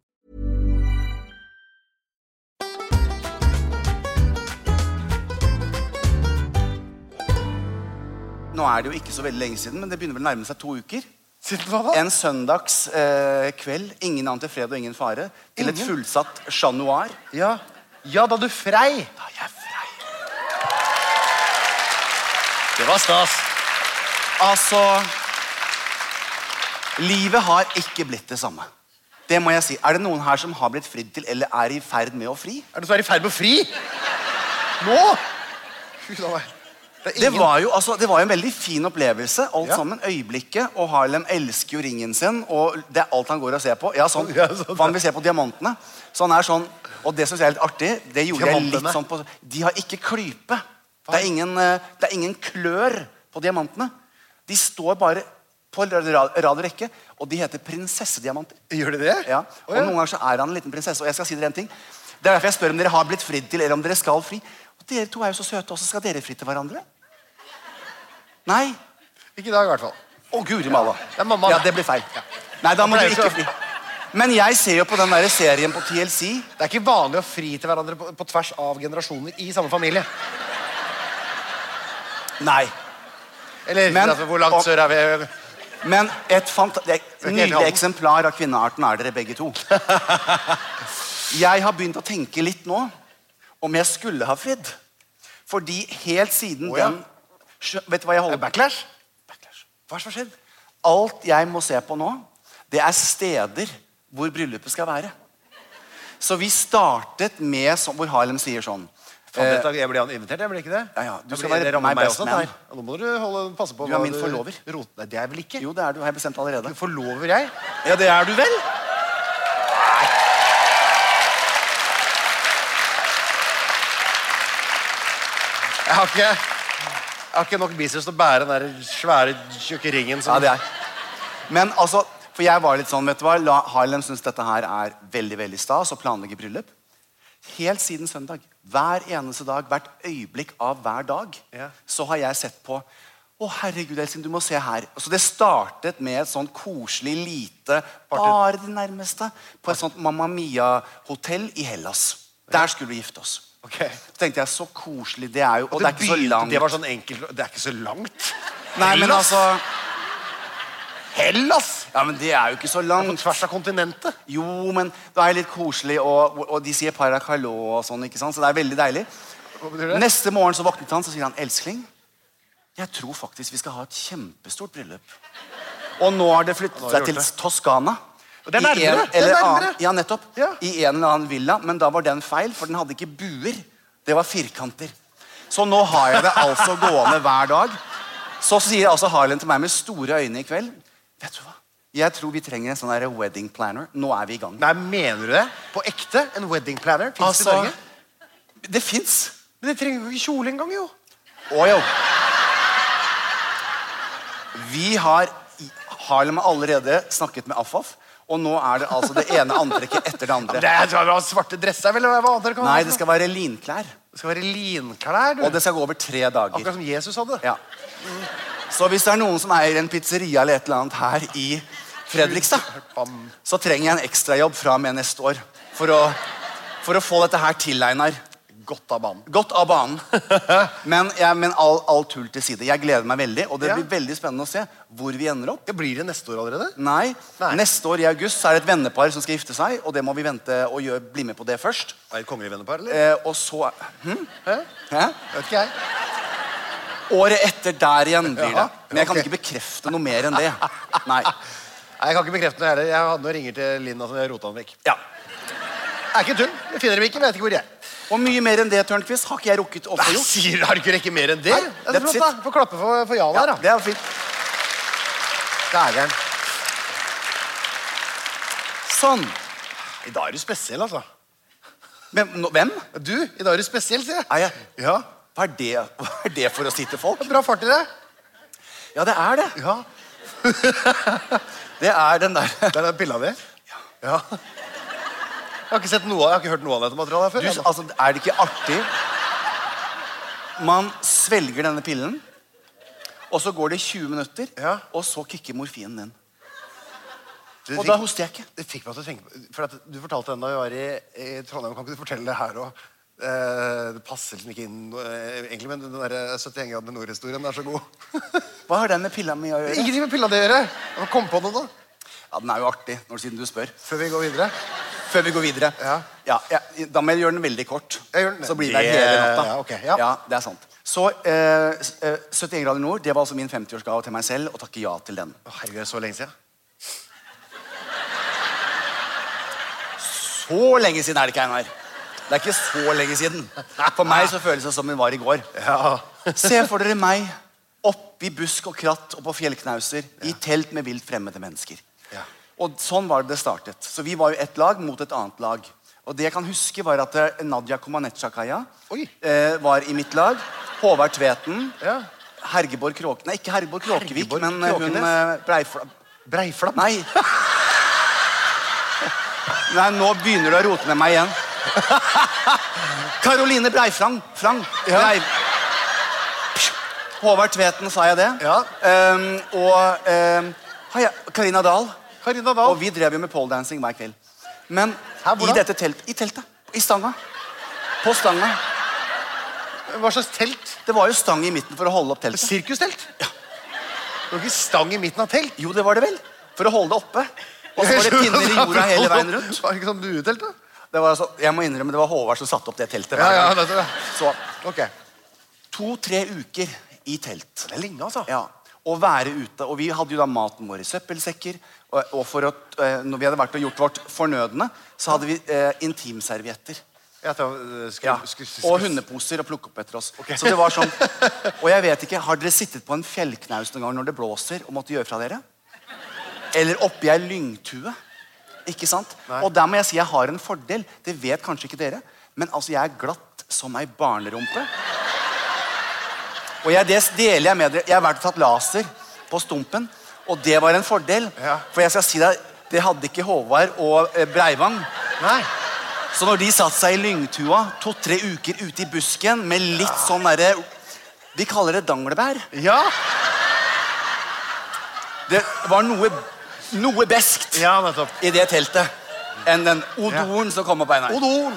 Speaker 2: Nå er det jo ikke så veldig lenge siden, men det begynner vel å nærme seg to uker.
Speaker 1: Siden hva da?
Speaker 2: En søndags eh, kveld, ingen annen til fred og ingen fare, til et
Speaker 1: Ingen?
Speaker 2: fullsatt Chat Noir.
Speaker 1: Ja. ja, da du frei.
Speaker 2: Da er jeg frei.
Speaker 1: Det var stas.
Speaker 2: Altså Livet har ikke blitt det samme. Det må jeg si. Er det noen her som har blitt fridd til, eller er i ferd med å fri?
Speaker 1: Er det som er i ferd med å fri? Nå? Gud a meg. Det er
Speaker 2: Det
Speaker 1: ingen
Speaker 2: var jo altså, det var jo en veldig fin opplevelse. alt
Speaker 1: Ja.
Speaker 2: sammen, Øyeblikket. Og Harlem elsker jo ringen sin. og Det er alt han går og ser på. Ja, sånn.
Speaker 1: Ja, sånn.
Speaker 2: For han vil se på diamantene. Så han er sånn, Og det syns jeg er litt artig. det gjorde jeg litt
Speaker 1: Diamantene.
Speaker 2: sånn på... De har ikke klype. Det er, ingen, eh, det er ingen klør på diamantene. De står bare på ra- ra- rad og rekke, og de heter prinsessediamanter.
Speaker 1: Gjør de det?
Speaker 2: Ja,
Speaker 1: Å,
Speaker 2: og
Speaker 1: ja.
Speaker 2: Noen ganger så er han en liten prinsesse. Og jeg skal si dere en ting. Det er derfor jeg spør om dere har blitt fridd til, eller om dere skal fri. Og Dere to er jo så søte også. Skal dere fri til hverandre? Nei.
Speaker 1: Ikke i dag, i hvert fall.
Speaker 2: Å, guri malla.
Speaker 1: Det er mamma,
Speaker 2: Ja,
Speaker 1: det.
Speaker 2: det blir feil. Nei, da må
Speaker 1: Da
Speaker 2: du
Speaker 1: pleier
Speaker 2: ikke
Speaker 1: vi
Speaker 2: fri. Men jeg ser jo på den der serien på TLC.
Speaker 1: Det er ikke vanlig å fri til hverandre på, på tvers av generasjoner i samme familie.
Speaker 2: Nei.
Speaker 1: Eller
Speaker 2: Men-
Speaker 1: altså, hvor langt
Speaker 2: og-
Speaker 1: sør er vi?
Speaker 2: Men et fanta det er
Speaker 1: helt
Speaker 2: et
Speaker 1: i
Speaker 2: nydelig
Speaker 1: orden.
Speaker 2: eksemplar av kvinnearten er dere begge to. Jeg har begynt å tenke litt nå om jeg skulle ha fridd. Fordi helt siden
Speaker 1: Å, ja.
Speaker 2: den Skjø- Vet du hva jeg holder
Speaker 1: Backlash?
Speaker 2: Backlash.
Speaker 1: Hva er det som har skjedd?
Speaker 2: Alt jeg må se på nå, det er steder hvor bryllupet skal være. Så vi startet med sånn, hvor Harlem sier sånn
Speaker 1: Faen, dette- jeg blir invitert, jeg blir ikke det?
Speaker 2: Ja, ja, du
Speaker 1: Jeg
Speaker 2: skal
Speaker 1: blir-
Speaker 2: være
Speaker 1: det rammer
Speaker 2: my
Speaker 1: meg
Speaker 2: best
Speaker 1: også,
Speaker 2: man.
Speaker 1: dette her. Ja, Nå må du holde, passe på
Speaker 2: Du er
Speaker 1: hva
Speaker 2: min forlover.
Speaker 1: Rot, nei, det er jeg vel ikke?
Speaker 2: Jo, det er du. Har jeg bestemt allerede.
Speaker 1: Forlover jeg?
Speaker 2: Ja, det er du vel?
Speaker 1: Jeg har ikke, jeg har ikke nok biceps til å bære den der svære, tjukke ringen som
Speaker 2: Ja, det er. Men altså, for jeg var litt sånn, vet du hva, La Harlem syns dette her er veldig veldig stas å planlegge bryllup. Helt siden søndag. Hver eneste dag, hvert øyeblikk av hver dag.
Speaker 1: Ja.
Speaker 2: Så har jeg sett på Å, herregud, Elsin, du må se her. Så det startet med et sånn koselig, lite Bare de nærmeste. På et sånt Mamma Mia-hotell i Hellas. Der skulle vi gifte oss.
Speaker 1: Ok.
Speaker 2: Så tenkte jeg, så koselig. Det er jo Og
Speaker 1: At
Speaker 2: det er ikke så
Speaker 1: begynte-
Speaker 2: langt.
Speaker 1: Det var sånn enkelt Det er ikke så langt.
Speaker 2: Nei, men
Speaker 1: Hellas?
Speaker 2: altså
Speaker 1: Hellas!
Speaker 2: Ja, men det er jo ikke så
Speaker 1: På
Speaker 2: langt.
Speaker 1: tvers av kontinentet.
Speaker 2: Jo, men da er jeg litt koselig, og, og de sier paracalo og sånn, ikke sant? Så det er veldig deilig.
Speaker 1: Hva betyr det?
Speaker 2: Neste morgen så våknet han, så sier han, elskling, jeg tror faktisk vi skal ha et kjempestort bryllup. Og nå har det flyttet
Speaker 1: har
Speaker 2: seg
Speaker 1: det
Speaker 2: til
Speaker 1: gjort
Speaker 2: Toskana.
Speaker 1: Det er
Speaker 2: I en
Speaker 1: nærmere, det er
Speaker 2: eller
Speaker 1: nærmere.
Speaker 2: annen- Ja, nettopp.
Speaker 1: Ja.
Speaker 2: I en eller annen villa, men da var den feil, for den hadde ikke buer. Det var firkanter. Så nå har jeg det altså gående hver dag. Så sier altså Harlem til meg med store øyne i kveld Vet du hva? Jeg tror vi trenger en sånn der wedding planner. Nå er vi i gang.
Speaker 1: Nei, altså- mener du det? På ekte? En wedding planner? Fins
Speaker 2: Altså-
Speaker 1: det i Norge?
Speaker 2: Det fins.
Speaker 1: Men de trenger jo ikke kjole engang, jo.
Speaker 2: Å jo. Vi har Harlem har allerede snakket med Affaf, og nå er det altså det ene antrekket etter det
Speaker 1: Det
Speaker 2: andre.
Speaker 1: er, det er svarte dresser, vel? Hva annet dere kan ha?
Speaker 2: Nei, det skal være linklær.
Speaker 1: Det skal være linklær, du.
Speaker 2: Og det skal gå over tre dager.
Speaker 1: Akkurat som Jesus hadde.
Speaker 2: Ja. Så hvis det er noen som eier en pizzeria eller et eller annet her i Fredrikstad, så trenger jeg en ekstrajobb fra og med neste år for å, for å få dette her til, Einar.
Speaker 1: Godt av banen.
Speaker 2: Godt av banen. Men, jeg, men all, all tull til side. Jeg gleder meg veldig, og det
Speaker 1: Ja.
Speaker 2: blir veldig spennende å se hvor vi ender opp.
Speaker 1: blir det neste år allerede?
Speaker 2: Nei. Neste år i august så er det et vennepar som skal gifte seg, og det må vi vente og gjøre, bli med på det først.
Speaker 1: Er det et kongelig vennepar, eller?
Speaker 2: Eh, og så hm? Hæ?
Speaker 1: Vet ikke jeg.
Speaker 2: Året etter der igjen blir det.
Speaker 1: Ja,
Speaker 2: Men jeg kan
Speaker 1: ok.
Speaker 2: ikke bekrefte noe mer enn det.
Speaker 1: Nei,
Speaker 2: Nei.
Speaker 1: Jeg kan ikke bekrefte det heller. Jeg hadde noen ringer til Linda som jeg rota den vekk.
Speaker 2: Ja.
Speaker 1: Er ikke tull. Jeg finner dem ikke, men jeg vet ikke hvor de er.
Speaker 2: Og mye mer enn det, Tørnquist, har ikke jeg rukket å få
Speaker 1: Nei,
Speaker 2: gjort.
Speaker 1: sier du, Har du ikke rekke mer enn det?
Speaker 2: Nei,
Speaker 1: det er
Speaker 2: that's
Speaker 1: flott, da.
Speaker 2: it.
Speaker 1: Få klappe for, for Jan
Speaker 2: Ja,
Speaker 1: her, da.
Speaker 2: det er fint.
Speaker 1: Dægeren.
Speaker 2: Sånn.
Speaker 1: I dag er du spesiell, altså.
Speaker 2: Hvem? nå- hvem?
Speaker 1: Du, i dag er du spesiell, sier jeg.
Speaker 2: Er jeg?
Speaker 1: Ja.
Speaker 2: Hva er det, hva er det for å si til folk?
Speaker 1: Bra fart i det.
Speaker 2: Ja, det er det.
Speaker 1: Ja.
Speaker 2: Det er den der
Speaker 1: Der er den pilla di. Ja. Jeg har ikke sett noe, av- jeg har ikke hørt noe av dette materialet her
Speaker 2: du,
Speaker 1: før. jeg, da.
Speaker 2: altså, Er det ikke artig? Man svelger denne pillen, og så går det 20 minutter,
Speaker 1: Ja.
Speaker 2: og så kicker morfinen inn.
Speaker 1: Du
Speaker 2: Og
Speaker 1: fikk-
Speaker 2: da hoster jeg ikke.
Speaker 1: Det fikk meg til å tenke på For at Du fortalte den da vi var i, i Trondheim. Kan ikke du fortelle det her òg? det passer liksom ikke inn eh, egentlig, men den der 71 grader nord-historien er så god.
Speaker 2: Hva har den med pilla mi å gjøre?
Speaker 1: Ingenting med pilla di å gjøre. Jeg må komme på noe nå.
Speaker 2: Ja, Den er jo artig, når, siden du spør.
Speaker 1: Før vi går videre.
Speaker 2: Før vi går videre.
Speaker 1: Ja.
Speaker 2: ja, da må jeg gjøre den veldig kort.
Speaker 1: Jeg gjør den-
Speaker 2: Så blir det
Speaker 1: Det-
Speaker 2: hele natta.
Speaker 1: ja, ok, ja.
Speaker 2: det er sant. Så eh, s- eh, 71 grader nord, det var altså min 50-årsgave til meg selv, og takke ja til den.
Speaker 1: Å, herregud, det er så lenge siden.
Speaker 2: Så lenge siden er det ikke, Einar. Det er ikke så lenge siden. For meg så føles det som hun var i går. Se for dere meg oppi busk og kratt og på fjellknauser i telt med vilt fremmede mennesker.
Speaker 1: Ja.
Speaker 2: Og sånn var det det startet. Så vi var jo ett lag mot et annet lag. Og det jeg kan huske, var at eh, Nadia Komanetsjakaya
Speaker 1: Oi.
Speaker 2: eh, var i mitt lag. Håvard Tveten.
Speaker 1: Ja.
Speaker 2: Hergeborg Kråke... Nei, ikke Hergeborg Kråkevik,
Speaker 1: Hergeborg
Speaker 2: men eh, hun
Speaker 1: Kråkenes?
Speaker 2: eh, Breifla...
Speaker 1: Breiflapp.
Speaker 2: Nei. Nei, nå begynner du å rote med meg igjen. Karoline Breifrang. Frang. Breif. Håvard Tveten, sa jeg det?
Speaker 1: Ja.
Speaker 2: Ehm, og ehm, har jeg- Karina Dahl.
Speaker 1: Karina Dahl.
Speaker 2: Og vi drev jo med poledancing hver kveld. Men
Speaker 1: Hæ,
Speaker 2: i
Speaker 1: hvordan?
Speaker 2: dette teltet. I teltet. I stanga. På stanga.
Speaker 1: Hva slags telt?
Speaker 2: Det var jo stang i midten for å holde opp teltet.
Speaker 1: Sirkustelt? Ja. Det var ikke stang i midten av telt.
Speaker 2: Jo, det var det vel. For å holde det oppe. Og så var det pinner i jorda hele veien rundt.
Speaker 1: Var det ikke sånn buetelt, da?
Speaker 2: Det var altså, jeg må innrømme, det var Håvard som satte opp det teltet.
Speaker 1: Ja,
Speaker 2: hver
Speaker 1: ja,
Speaker 2: gang.
Speaker 1: det, det.
Speaker 2: Så
Speaker 1: Ok.
Speaker 2: to-tre uker i telt.
Speaker 1: Det er lenge, altså.
Speaker 2: Ja, Å være ute. Og vi hadde jo da maten vår i søppelsekker. Og, og for å, eh, når vi hadde vært og gjort vårt fornødne, så hadde vi eh, intimservietter.
Speaker 1: Ja, det var, eh, sku-
Speaker 2: Ja.
Speaker 1: sku- sku-
Speaker 2: Og
Speaker 1: sku-
Speaker 2: hundeposer å plukke opp etter oss. Så det var sånn. Og jeg vet ikke, Har dere sittet på en fjellknaus noen gang når det blåser, og måtte gjøre fra dere? Eller oppi ei lyngtue? Ikke sant?
Speaker 1: Nei.
Speaker 2: Og der må jeg si jeg har en fordel. Det vet kanskje ikke dere. Men altså, jeg er glatt som ei barnerumpe. Og jeg, det deler jeg med dere. Jeg har vært og tatt laser på stumpen. Og det var en fordel.
Speaker 1: Ja.
Speaker 2: For jeg skal si deg, det hadde ikke Håvard og eh, Breivang.
Speaker 1: Nei.
Speaker 2: Så når de satt seg i lyngtua to-tre uker ute i busken med litt sånn derre Vi kaller det danglebær.
Speaker 1: Ja.
Speaker 2: Det var noe, noe beskt
Speaker 1: Ja, nettopp.
Speaker 2: i det teltet enn den odoren som kom opp. Einar.
Speaker 1: Odol.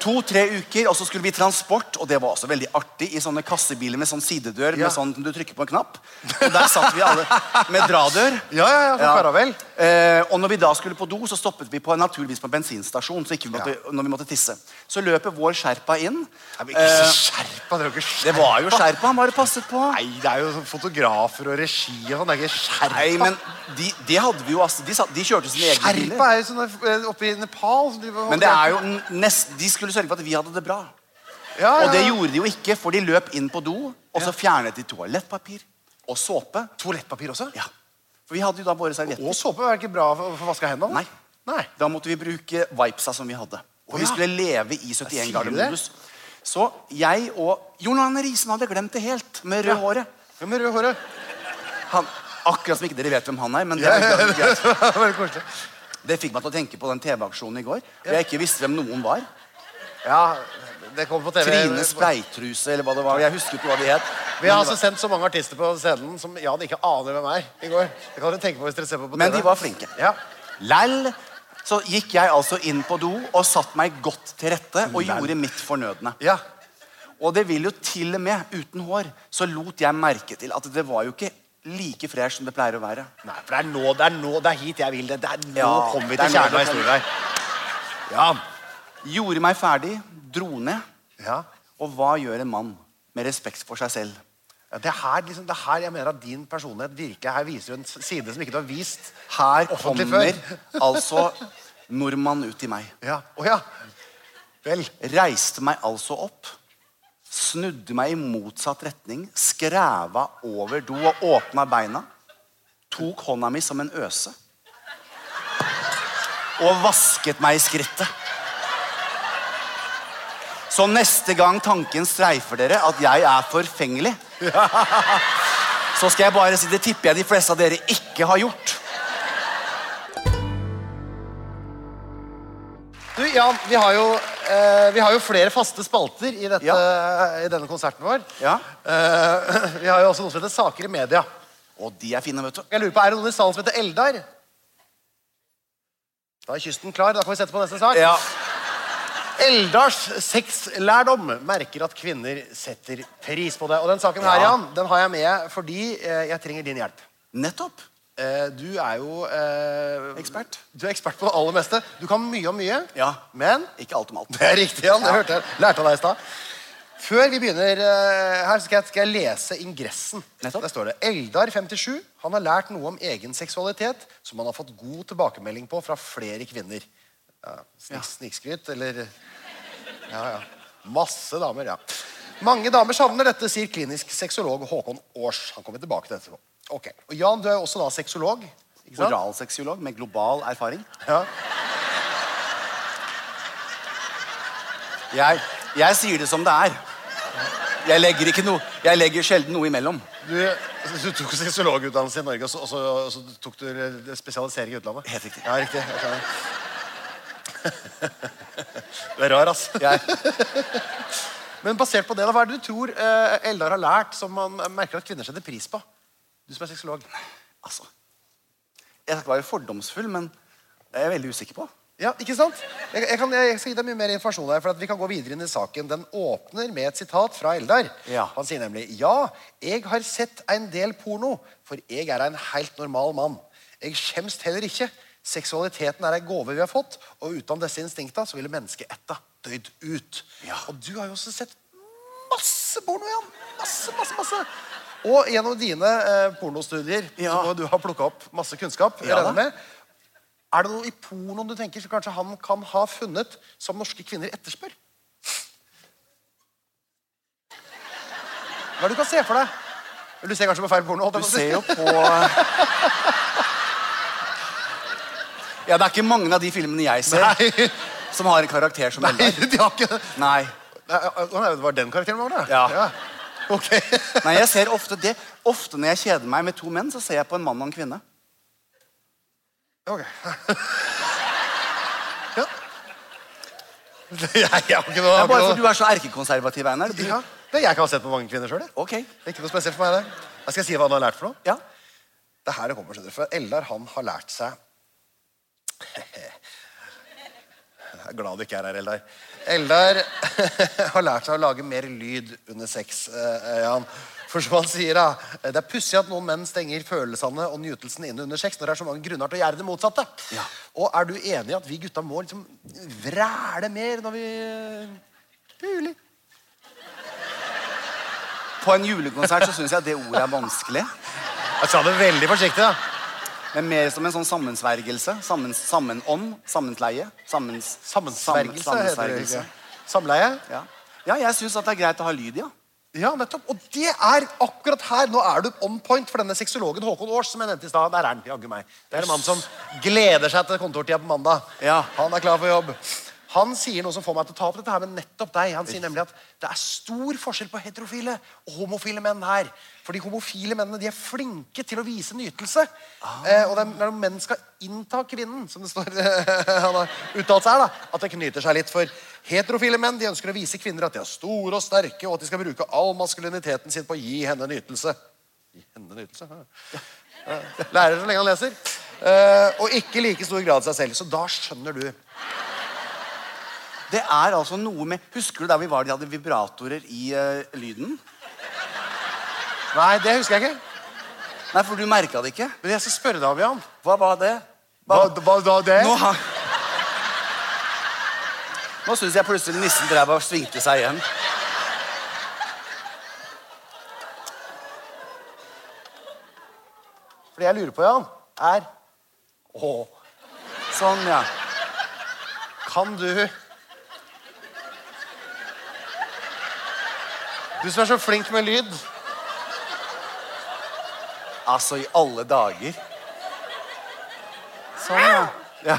Speaker 2: To-tre uker, og så skulle vi i transport, og det var også veldig artig, i sånne kassebiler med sånn sidedør
Speaker 1: Ja.
Speaker 2: med sånn du trykker på en knapp. Og der satt vi alle med dradør.
Speaker 1: Ja, ja, ja, for Karavel.
Speaker 2: Eh, og når vi da skulle på do, så stoppet vi på, naturligvis på en bensinstasjon så ikke vi måtte, når vi måtte tisse. Så løper vår sherpa inn.
Speaker 1: Nei, men ikke så skjerpa. Eh, Det er jo ikke skjerpa.
Speaker 2: Det var jo sherpa han bare passet på.
Speaker 1: Nei, det er jo sånn fotografer og regi og sånn. Det er ikke skjerpa.
Speaker 2: Nei, men de, de hadde vi jo altså, de, satt, de kjørte sine egne
Speaker 1: Skjerpa
Speaker 2: biler.
Speaker 1: er jo sånn der, eh, oppe i Nepal. Som driver,
Speaker 2: Men det er jo n- nest, de skulle sørge for at vi hadde det bra.
Speaker 1: ja,
Speaker 2: Og det
Speaker 1: ja.
Speaker 2: gjorde de jo ikke, for de løp inn på do, og så fjernet de toalettpapir og såpe.
Speaker 1: Toalettpapir også?
Speaker 2: Ja. For vi hadde jo da våre
Speaker 1: Og
Speaker 2: servietter.
Speaker 1: såpe er ikke bra for å få vaska hendene?
Speaker 2: Nei.
Speaker 1: Nei.
Speaker 2: Da måtte vi bruke vipesa som vi hadde. Og
Speaker 1: Å, ja.
Speaker 2: vi skulle leve i 71
Speaker 1: sier
Speaker 2: grader
Speaker 1: du det?
Speaker 2: modus. Så jeg og Jon Arne Riisen hadde glemt det helt, med rød håret.
Speaker 1: Ja, med rød håret.
Speaker 2: Han, akkurat som ikke dere vet hvem han er, men det
Speaker 1: Ja,
Speaker 2: er
Speaker 1: ja,
Speaker 2: jo greit.
Speaker 1: det var veldig koselig.
Speaker 2: Det fikk meg til å tenke på den TV-aksjonen i går. Hvor jeg ikke visste hvem noen var.
Speaker 1: Ja, det kom på TV.
Speaker 2: Trine Spleitruse, eller hva det var. Jeg husker ikke hva de het.
Speaker 1: Vi har altså sendt så mange artister på scenen som Jan ikke aner hvem er. i går. Det kan dere tenke på hvis dere ser på på TV.
Speaker 2: Men de var flinke.
Speaker 1: Ja.
Speaker 2: Lell, så gikk jeg altså inn på do og satte meg godt til rette og gjorde mitt fornødne. Og det vil jo til og med, uten hår, så lot jeg merke til at det var jo ikke like fresh som det pleier å være.
Speaker 1: Nei, for det er nå, det er nå, det er hit jeg vil. Det, det er, nå
Speaker 2: Ja,
Speaker 1: kommer vi
Speaker 2: det er
Speaker 1: til
Speaker 2: nå
Speaker 1: kjernen av
Speaker 2: det kommer.
Speaker 1: historien her. Ja.
Speaker 2: Gjorde meg ferdig, dro ned. Og hva gjør en mann med respekt for seg selv?
Speaker 1: Ja, Det er her, liksom, det er her jeg mener at din personlighet virker. Her viser du en s- side som ikke du har vist her offentlig
Speaker 2: Kommer
Speaker 1: før.
Speaker 2: altså nordmann ut til meg.
Speaker 1: Ja. Å ja. Vel.
Speaker 2: Reiste meg altså opp. Snudde meg i motsatt retning, skræva over do og åpna beina. Tok hånda mi som en øse. Og vasket meg i skrittet. Så neste gang tanken streifer dere at jeg er forfengelig, så skal jeg bare si det tipper jeg de fleste av dere ikke har gjort.
Speaker 1: Du, Jan, vi har jo, eh, vi har jo flere faste spalter i, dette, i denne konserten vår. Eh, vi har jo også noe som heter Saker i media.
Speaker 2: Og de er fine, vet du.
Speaker 1: Jeg lurer på, Er det noen i salen som heter Eldar? Da er kysten klar. Da kan vi sette på neste sak.
Speaker 2: Ja.
Speaker 1: Eldars sexlærdom merker at kvinner setter pris på det. Og den saken her,
Speaker 2: Ja.
Speaker 1: Jan, den har jeg med fordi eh, jeg trenger din hjelp.
Speaker 2: Nettopp.
Speaker 1: Eh, Du er jo eh,
Speaker 2: Ekspert.
Speaker 1: Du er ekspert på det aller meste. Du kan mye om mye.
Speaker 2: Ja.
Speaker 1: Men
Speaker 2: Ikke alt om alt.
Speaker 1: det er riktig, Jan. Det hørte jeg. Lærte av deg i stad. Før vi begynner eh, her, så skal jeg, skal jeg lese ingressen.
Speaker 2: Nettopp.
Speaker 1: Der står det Eldar 57 han har lært noe om egen seksualitet som han har fått god tilbakemelding på fra flere kvinner. Ja, snik, Snikskryt, eller Ja, ja. Masse damer, ja. Mange damer savner dette, sier klinisk sexolog Håkon Aars. Han kommer tilbake til dette. Ok, og Jan, du er jo også da sexolog. ikke sant?
Speaker 2: Oralseksuolog med global erfaring.
Speaker 1: Ja.
Speaker 2: Jeg, jeg sier det som det er. Jeg legger, ikke noe- jeg legger sjelden noe imellom.
Speaker 1: Du, du tok sexologutdannelse i Norge, og så, og så, og så tok du eh, spesialisering i utlandet?
Speaker 2: Helt riktig.
Speaker 1: Ja, riktig. Jeg skjønner. Du er rar, ass. Men basert på det, da, hva er det du tror eh, Eldar har lært som man merker at kvinner setter pris på? Du som er sexolog.
Speaker 2: Altså, jeg skal ikke være fordomsfull, men det er jeg veldig usikker på.
Speaker 1: Ja, ikke sant? Jeg, jeg, kan, jeg skal gi deg mye mer informasjon her, for at vi kan gå videre inn i saken. Den åpner med et sitat fra Eldar.
Speaker 2: Ja.
Speaker 1: Han sier nemlig Ja, jeg har sett en del porno, for jeg er en helt normal mann. Jeg skjemst heller ikke. Seksualiteten er en gave vi har fått, og uten disse instinkta så ville mennesket etta døyd ut. Og du har jo også sett masse porno, Jan. Masse, masse, masse. Og gjennom dine eh, pornostudier
Speaker 2: Ja.
Speaker 1: så må du ha plukka opp masse kunnskap. jeg
Speaker 2: Ja da.
Speaker 1: regner med. Er det noe i pornoen du tenker som kanskje han kan ha funnet, som norske kvinner etterspør? Hva er det du kan se for deg? Eller Du ser kanskje på feil porno. holdt jeg
Speaker 2: Du
Speaker 1: på å si.
Speaker 2: ser jo på Ja, det er ikke mange av de filmene jeg ser,
Speaker 1: Nei.
Speaker 2: som har en karakter som
Speaker 1: Nei,
Speaker 2: Eldar.
Speaker 1: de har ikke det.
Speaker 2: Nei.
Speaker 1: Det var den karakteren var det?
Speaker 2: Ja.
Speaker 1: Ok.
Speaker 2: Nei, jeg ser ofte det. Ofte når jeg kjeder meg med to menn, så ser jeg på en mann og en kvinne.
Speaker 1: Ok. Ja. Jeg har ikke noe
Speaker 2: Det er bare fordi du er så erkekonservativ, Einar. Du...
Speaker 1: Ja, det er jeg ikke har sett på mange kvinner sjøl.
Speaker 2: Ok.
Speaker 1: Ikke noe spesielt for meg, det. Jeg skal si hva han har lært for noe.
Speaker 2: Ja.
Speaker 1: Det er her det kommer, skjønner du. For Eldar, han har lært seg Jeg er glad du ikke er her, Eldar. Eldar har lært seg å lage mer lyd under sex. eh, Jan. For som han sier, da Det er pussig at noen menn stenger følelsene og nytelsen inne under sex når det er så mange grunner til å gjøre det motsatte.
Speaker 2: Ja.
Speaker 1: Og er du enig i at vi gutta må liksom vræle mer når vi Puler?
Speaker 2: På en julekonsert så syns jeg det ordet er vanskelig.
Speaker 1: Jeg sa det veldig forsiktig, da.
Speaker 2: Men mer som en sånn sammensvergelse. Sammen, sammenånd. Sammentleie. Sammens,
Speaker 1: Sammensvergelse,
Speaker 2: sammen-
Speaker 1: heter det
Speaker 2: sammensvergelse.
Speaker 1: ikke. Samleie?
Speaker 2: Ja. ja, jeg syns det er greit å ha lyd, ja.
Speaker 1: Ja, nettopp. Og det er akkurat her. Nå er du on point for denne sexologen Håkon Aars. som jeg nevnte i sted. Der er han, jaggu meg. Det er en mann som gleder seg til kontortida på mandag.
Speaker 2: Ja.
Speaker 1: Han er klar for jobb. Han sier noe som får meg til å ta opp dette her med nettopp deg. Han sier nemlig at det er stor forskjell på heterofile og homofile menn her. For de homofile mennene de er flinke til å vise nytelse. Eh, og det er når menn skal innta kvinnen, som det står han har uttalt seg her, da, at det knyter seg litt for Heterofile menn de ønsker å vise kvinner at de er store og sterke, og at de skal bruke all maskuliniteten sin på å gi henne nytelse. Gi henne nytelse? ja. Lærer så lenge han leser. Eh, og ikke i like stor grad seg selv. Så da skjønner du.
Speaker 2: Det er altså noe med Husker du der vi var de hadde vibratorer i eh, lyden?
Speaker 1: Nei, det husker jeg ikke.
Speaker 2: Nei, for du merka det ikke.
Speaker 1: Men jeg skal spørre deg om, Jan.
Speaker 2: Hva var det?
Speaker 1: Hva, hva da det?
Speaker 2: Nå, har- Nå syns jeg plutselig nissen drev og svingte seg igjen.
Speaker 1: For det jeg lurer på, Jan, er Å,
Speaker 2: Sånn, ja.
Speaker 1: kan du Du som er så flink med lyd,
Speaker 2: Altså, i alle dager. Sånn, ja.
Speaker 1: Ja.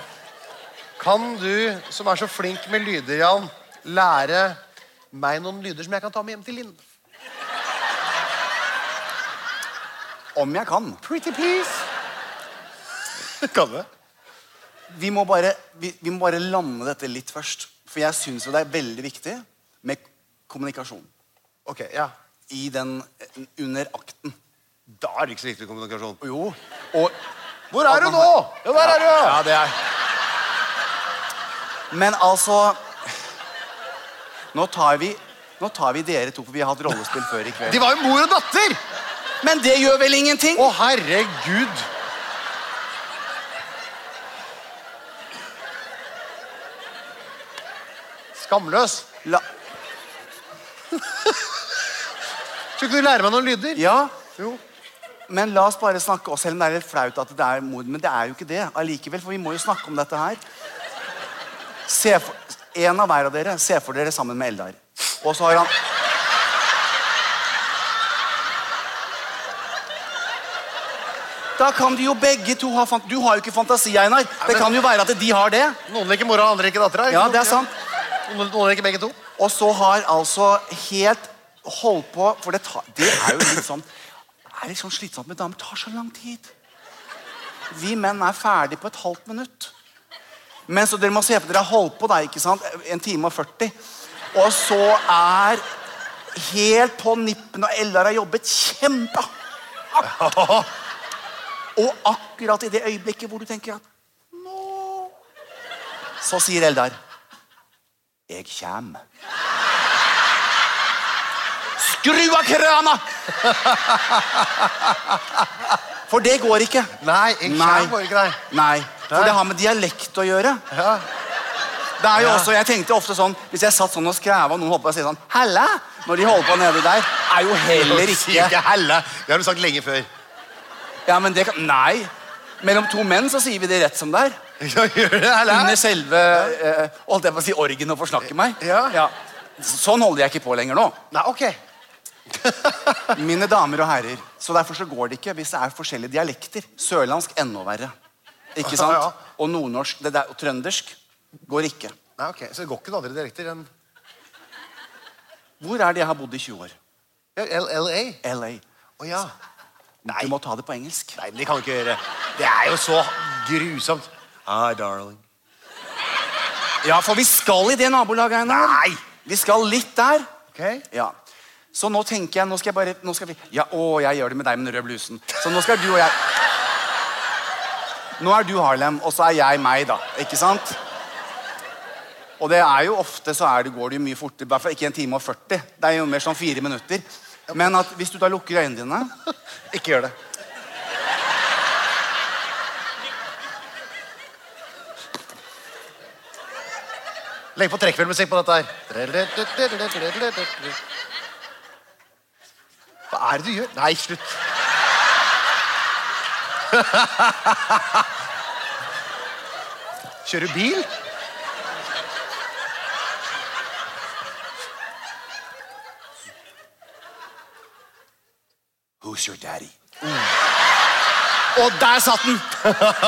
Speaker 1: Kan du, som er så flink med lyder, Jan, lære meg noen lyder som jeg kan ta med hjem til Linn?
Speaker 2: Om jeg kan.
Speaker 1: Pretty please. Kan du?
Speaker 2: Vi må bare, vi, vi må bare lande dette litt først. For jeg syns jo det er veldig viktig med kommunikasjon.
Speaker 1: Ok, ja.
Speaker 2: I den Under akten.
Speaker 1: Da er det ikke så viktig kommunikasjon.
Speaker 2: Jo. Og,
Speaker 1: Hvor er du nå? Ja, der er du!
Speaker 2: Ja, det er Men altså Nå tar vi Nå tar vi dere to, for vi har hatt rollespill før i kveld.
Speaker 1: De var jo mor og datter!
Speaker 2: Men det gjør vel ingenting?
Speaker 1: Å, herregud. Skamløs.
Speaker 2: La,
Speaker 1: Skal ikke du lære meg noen lyder?
Speaker 2: ja,
Speaker 1: Jo.
Speaker 2: men la oss bare snakke oss, selv om det er litt flaut at det er mord. Men det er jo ikke det allikevel, for vi må jo snakke om dette her. Se for, en av hver av dere se for dere sammen med Eldar. Og så har han Da kan de jo begge to ha fant... Du har jo ikke fantasi, Einar. Det kan jo være at de har det.
Speaker 1: Noen liker mora, andre liker dattera.
Speaker 2: Ja, det er sant.
Speaker 1: Noen, noen liker begge to.
Speaker 2: Og så har altså helt holdt på For det, tar, det er jo litt sånn er litt sånn slitsomt med damer. Det tar så lang tid. Vi menn er ferdig på et halvt minutt. Men så dere må se for dere har holdt på da, ikke sant? en time og 40. Og så er helt på nippen, og Eldar har jobbet kjempehardt. Og akkurat i det øyeblikket hvor du tenker at Nå Så sier Eldar jeg kjem. Skru av krana! For det går ikke.
Speaker 1: Nei, jeg
Speaker 2: Nei.
Speaker 1: kjær går ikke deg.
Speaker 2: Nei, For det har med dialekt å gjøre.
Speaker 1: Ja.
Speaker 2: Det er jo også, jeg tenkte ofte sånn, Hvis jeg satt sånn og skræva, og noen holdt på å si sånn Hella! Når de holder på nede der, er jo heller ikke
Speaker 1: Ikke helle. Det har du sagt lenge før.
Speaker 2: Ja, men det kan, Nei. Mellom to menn så sier vi det rett som det er.
Speaker 1: Ja, gjør det, helle.
Speaker 2: Under selve eh, holdt jeg på å si orgen og forsnakke meg.
Speaker 1: Ja.
Speaker 2: Sånn holder jeg ikke på lenger nå.
Speaker 1: Nei, ok.
Speaker 2: Mine damer og herrer, så derfor så går det ikke hvis det er forskjellige dialekter. Sørlandsk enda verre. Ikke sant?
Speaker 1: Ja.
Speaker 2: Og nordnorsk det der, og trøndersk går ikke.
Speaker 1: Nei, ok. Så det går ikke noen andre direkter enn
Speaker 2: Hvor er det jeg har bodd i 20 år?
Speaker 1: ja, LLA?
Speaker 2: LA.
Speaker 1: Å ja.
Speaker 2: Du må ta det på engelsk.
Speaker 1: Nei, men det kan du ikke gjøre. Det er jo så grusomt. Hi, darling.
Speaker 2: Ja, for vi skal i det nabolaget, Einar.
Speaker 1: Nei!
Speaker 2: Vi skal litt der.
Speaker 1: Ok?
Speaker 2: Ja. Så nå tenker jeg Nå skal jeg bare nå skal vi, Ja, Å, jeg gjør det med deg med den røde blusen. Så nå skal du og jeg Nå er du Harlem, og så er jeg meg, da. Ikke sant? Og det er jo ofte så er det, går det jo mye fortere. I hvert fall ikke en time og 40. Det er jo mer sånn fire minutter. Men at hvis du da lukker øynene dine
Speaker 1: Ikke gjør det. Legg på trekkfjellmusikk på dette her. Hva er det du gjør? Nei, slutt. Kjører du bil?
Speaker 2: Who's your daddy?
Speaker 1: Og der satt den!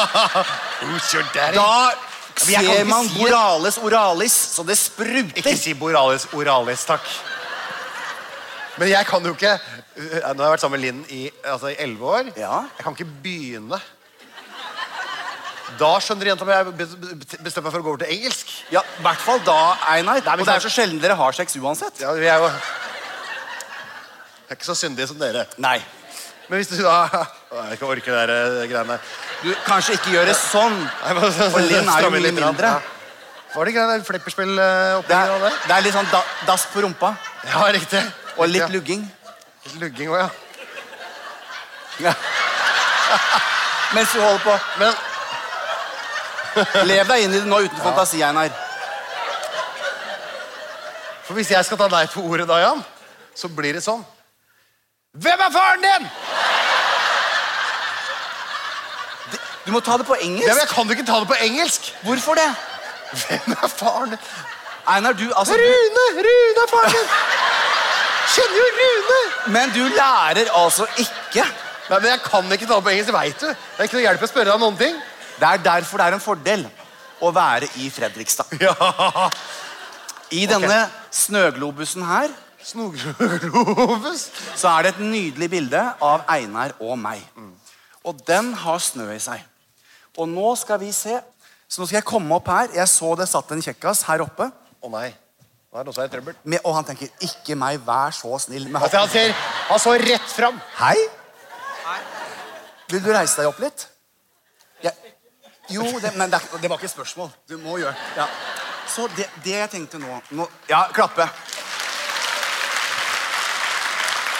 Speaker 1: Who's your daddy?
Speaker 2: Da
Speaker 1: men jeg kan
Speaker 2: ser
Speaker 1: ikke
Speaker 2: man
Speaker 1: si det.
Speaker 2: Boralis oralis, så det spruter.
Speaker 1: Ikke si Boralis Oralis, takk. Men jeg kan jo ikke eh, Nå har jeg vært sammen med Linn i altså, i 11 år.
Speaker 2: Ja.
Speaker 1: Jeg kan ikke begynne. Da skjønner jenta mi jeg bestemmer meg for å gå over til engelsk.
Speaker 2: Ja, I hvert fall da, Einar.
Speaker 1: Nei, men
Speaker 2: og det er
Speaker 1: sant.
Speaker 2: så sjelden dere har sex uansett.
Speaker 1: Ja, vi er jo Jeg er ikke så syndige som dere.
Speaker 2: Nei.
Speaker 1: Men hvis du da Å, Jeg kan orke de der, eh, greiene.
Speaker 2: Du, kanskje ikke gjøre sånn. For Linn er jo
Speaker 1: Stramme
Speaker 2: mye
Speaker 1: litt grann,
Speaker 2: mindre.
Speaker 1: ja. Var det ikke det der eh,
Speaker 2: Det
Speaker 1: flipperspill-opplegget?
Speaker 2: er, det er litt sånn da, dass på rumpa.
Speaker 1: Ja, riktig.
Speaker 2: Og litt
Speaker 1: Riktig, ja.
Speaker 2: lugging.
Speaker 1: Litt Lugging òg, ja.
Speaker 2: Ja. Mens du holder på.
Speaker 1: Men
Speaker 2: Lev deg inn i det nå uten fantasi, Einar.
Speaker 1: for hvis jeg skal ta deg på ordet da, Jan, så blir det sånn. Hvem er faren din?!
Speaker 2: Du må ta det på
Speaker 1: Ja, men
Speaker 2: engelsk.
Speaker 1: jeg kan jo ikke ta det på engelsk!
Speaker 2: Hvorfor det?
Speaker 1: Hvem er faren din?
Speaker 2: Einar, du altså du,
Speaker 1: Rune! Rune er faren din! Kjenner jo Rune!
Speaker 2: Men du lærer altså ikke.
Speaker 1: Nei, men Jeg kan ikke ta det på engelsk, det veit du. Det er ikke noe hjelp å spørre deg om noen ting.
Speaker 2: Det er derfor det er en fordel å være i Fredrikstad.
Speaker 1: Ja.
Speaker 2: I denne snøglobusen her
Speaker 1: Snoglobus.
Speaker 2: så er det et nydelig bilde av Einar og meg.
Speaker 1: Mm.
Speaker 2: Og den har snø i seg. Og nå skal vi se. Så nå skal jeg komme opp her. Jeg så det satt en kjekkas her oppe.
Speaker 1: Å nei. Nå er det også i trøbbel.
Speaker 2: Med, og han tenker 'ikke meg, vær så snill'. Med
Speaker 1: Altså, han, ser, han så rett fram.
Speaker 2: Hei. Vil du reise deg opp litt? Ja. Jo, det, men det, er- det var ikke et spørsmål. Du må gjøre ja. Så det, det jeg tenkte nå, nå Ja, klappe.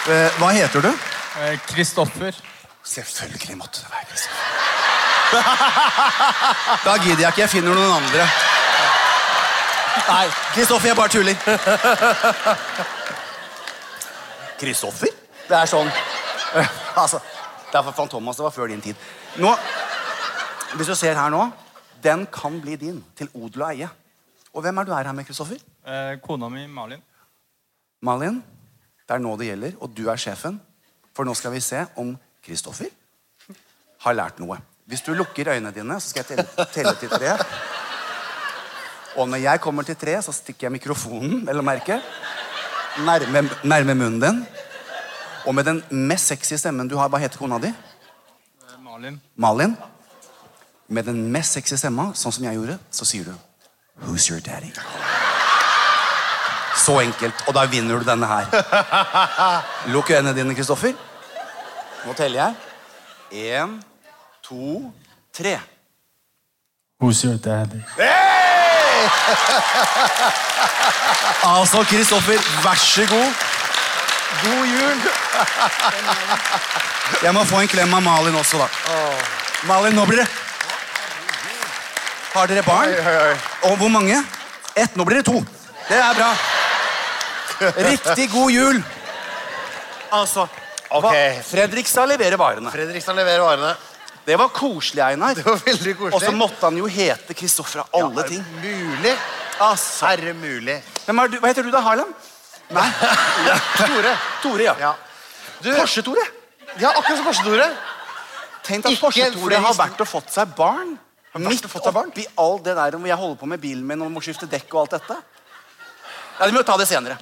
Speaker 2: Eh, hva heter du?
Speaker 5: Eh, Kristoffer.
Speaker 2: Selvfølgelig måtte det være liksom. Kristoffer. Da gidder jeg ikke. Jeg finner noen andre. Nei, Kristoffer, jeg bare tuller. Kristoffer? Det er sånn. Altså, det er for Fantomas. Det var før din tid. Nå, Hvis du ser her nå, den kan bli din. Til odel og eie. Og hvem er du er her med, Kristoffer?
Speaker 5: Eh, Kona mi, Malin.
Speaker 2: Malin, det er nå det gjelder, og du er sjefen. For nå skal vi se om Kristoffer har lært noe. Hvis du lukker øynene dine, så skal jeg telle, telle til tre. Og når jeg kommer til tre, så stikker jeg mikrofonen vel å merke, nærme, nærme munnen din. Og med den mest sexy stemmen du har Hva heter kona di?
Speaker 5: Eh, Malin.
Speaker 2: Malin. Med den mest sexy stemma, sånn som jeg gjorde, så sier du Who's your daddy? Så enkelt. Og da vinner du denne her. Lukk øynene dine, Kristoffer. Nå teller jeg. Én, to, tre.
Speaker 5: Who's your daddy?
Speaker 2: Altså, Kristoffer, vær så god.
Speaker 1: God jul!
Speaker 2: Jeg må få en klem av Malin også, da. Malin, nå blir det Har dere barn?
Speaker 1: Oi, oi, oi.
Speaker 2: Og hvor mange? Ett. Nå blir det to. Det er bra. Riktig god jul. Altså hva-
Speaker 1: Ok.
Speaker 2: Fredrikstad leverer varene.
Speaker 1: Fredrikstad leverer varene.
Speaker 2: Det var koselig, Einar.
Speaker 1: Det var veldig koselig.
Speaker 2: Og så måtte han jo hete Kristoffer av
Speaker 1: Er
Speaker 2: alle
Speaker 1: det
Speaker 2: ting.
Speaker 1: Mulig.
Speaker 2: Altså.
Speaker 1: Er det mulig?
Speaker 2: Hvem er du? Hva heter du, da? Harlem? Nei.
Speaker 1: Tore.
Speaker 2: Tore, ja.
Speaker 1: Ja. Du,
Speaker 2: Porsche-Tore.
Speaker 1: ja, akkurat som Porsche-Tore.
Speaker 2: Tenk at
Speaker 1: Ikke
Speaker 2: Porsche-Tore
Speaker 1: flere
Speaker 2: har
Speaker 1: historier.
Speaker 2: vært og fått seg barn. Midt
Speaker 1: og fått seg barn?
Speaker 2: oppi all det der hvor jeg holder på med bilen min og må skifte dekk og alt dette. Ja, Vi må ta det senere.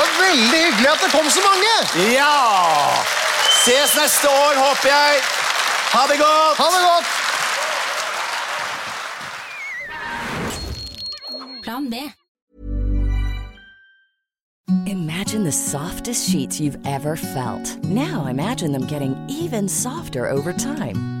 Speaker 1: Og veldig hyggelig at det kom så mange!
Speaker 2: Ja! Ses neste år, håper jeg. Ha det godt!
Speaker 1: Ha det godt!
Speaker 8: Plan B.
Speaker 7: Imagine the softest sheets you've ever felt. Now imagine them getting even softer over time.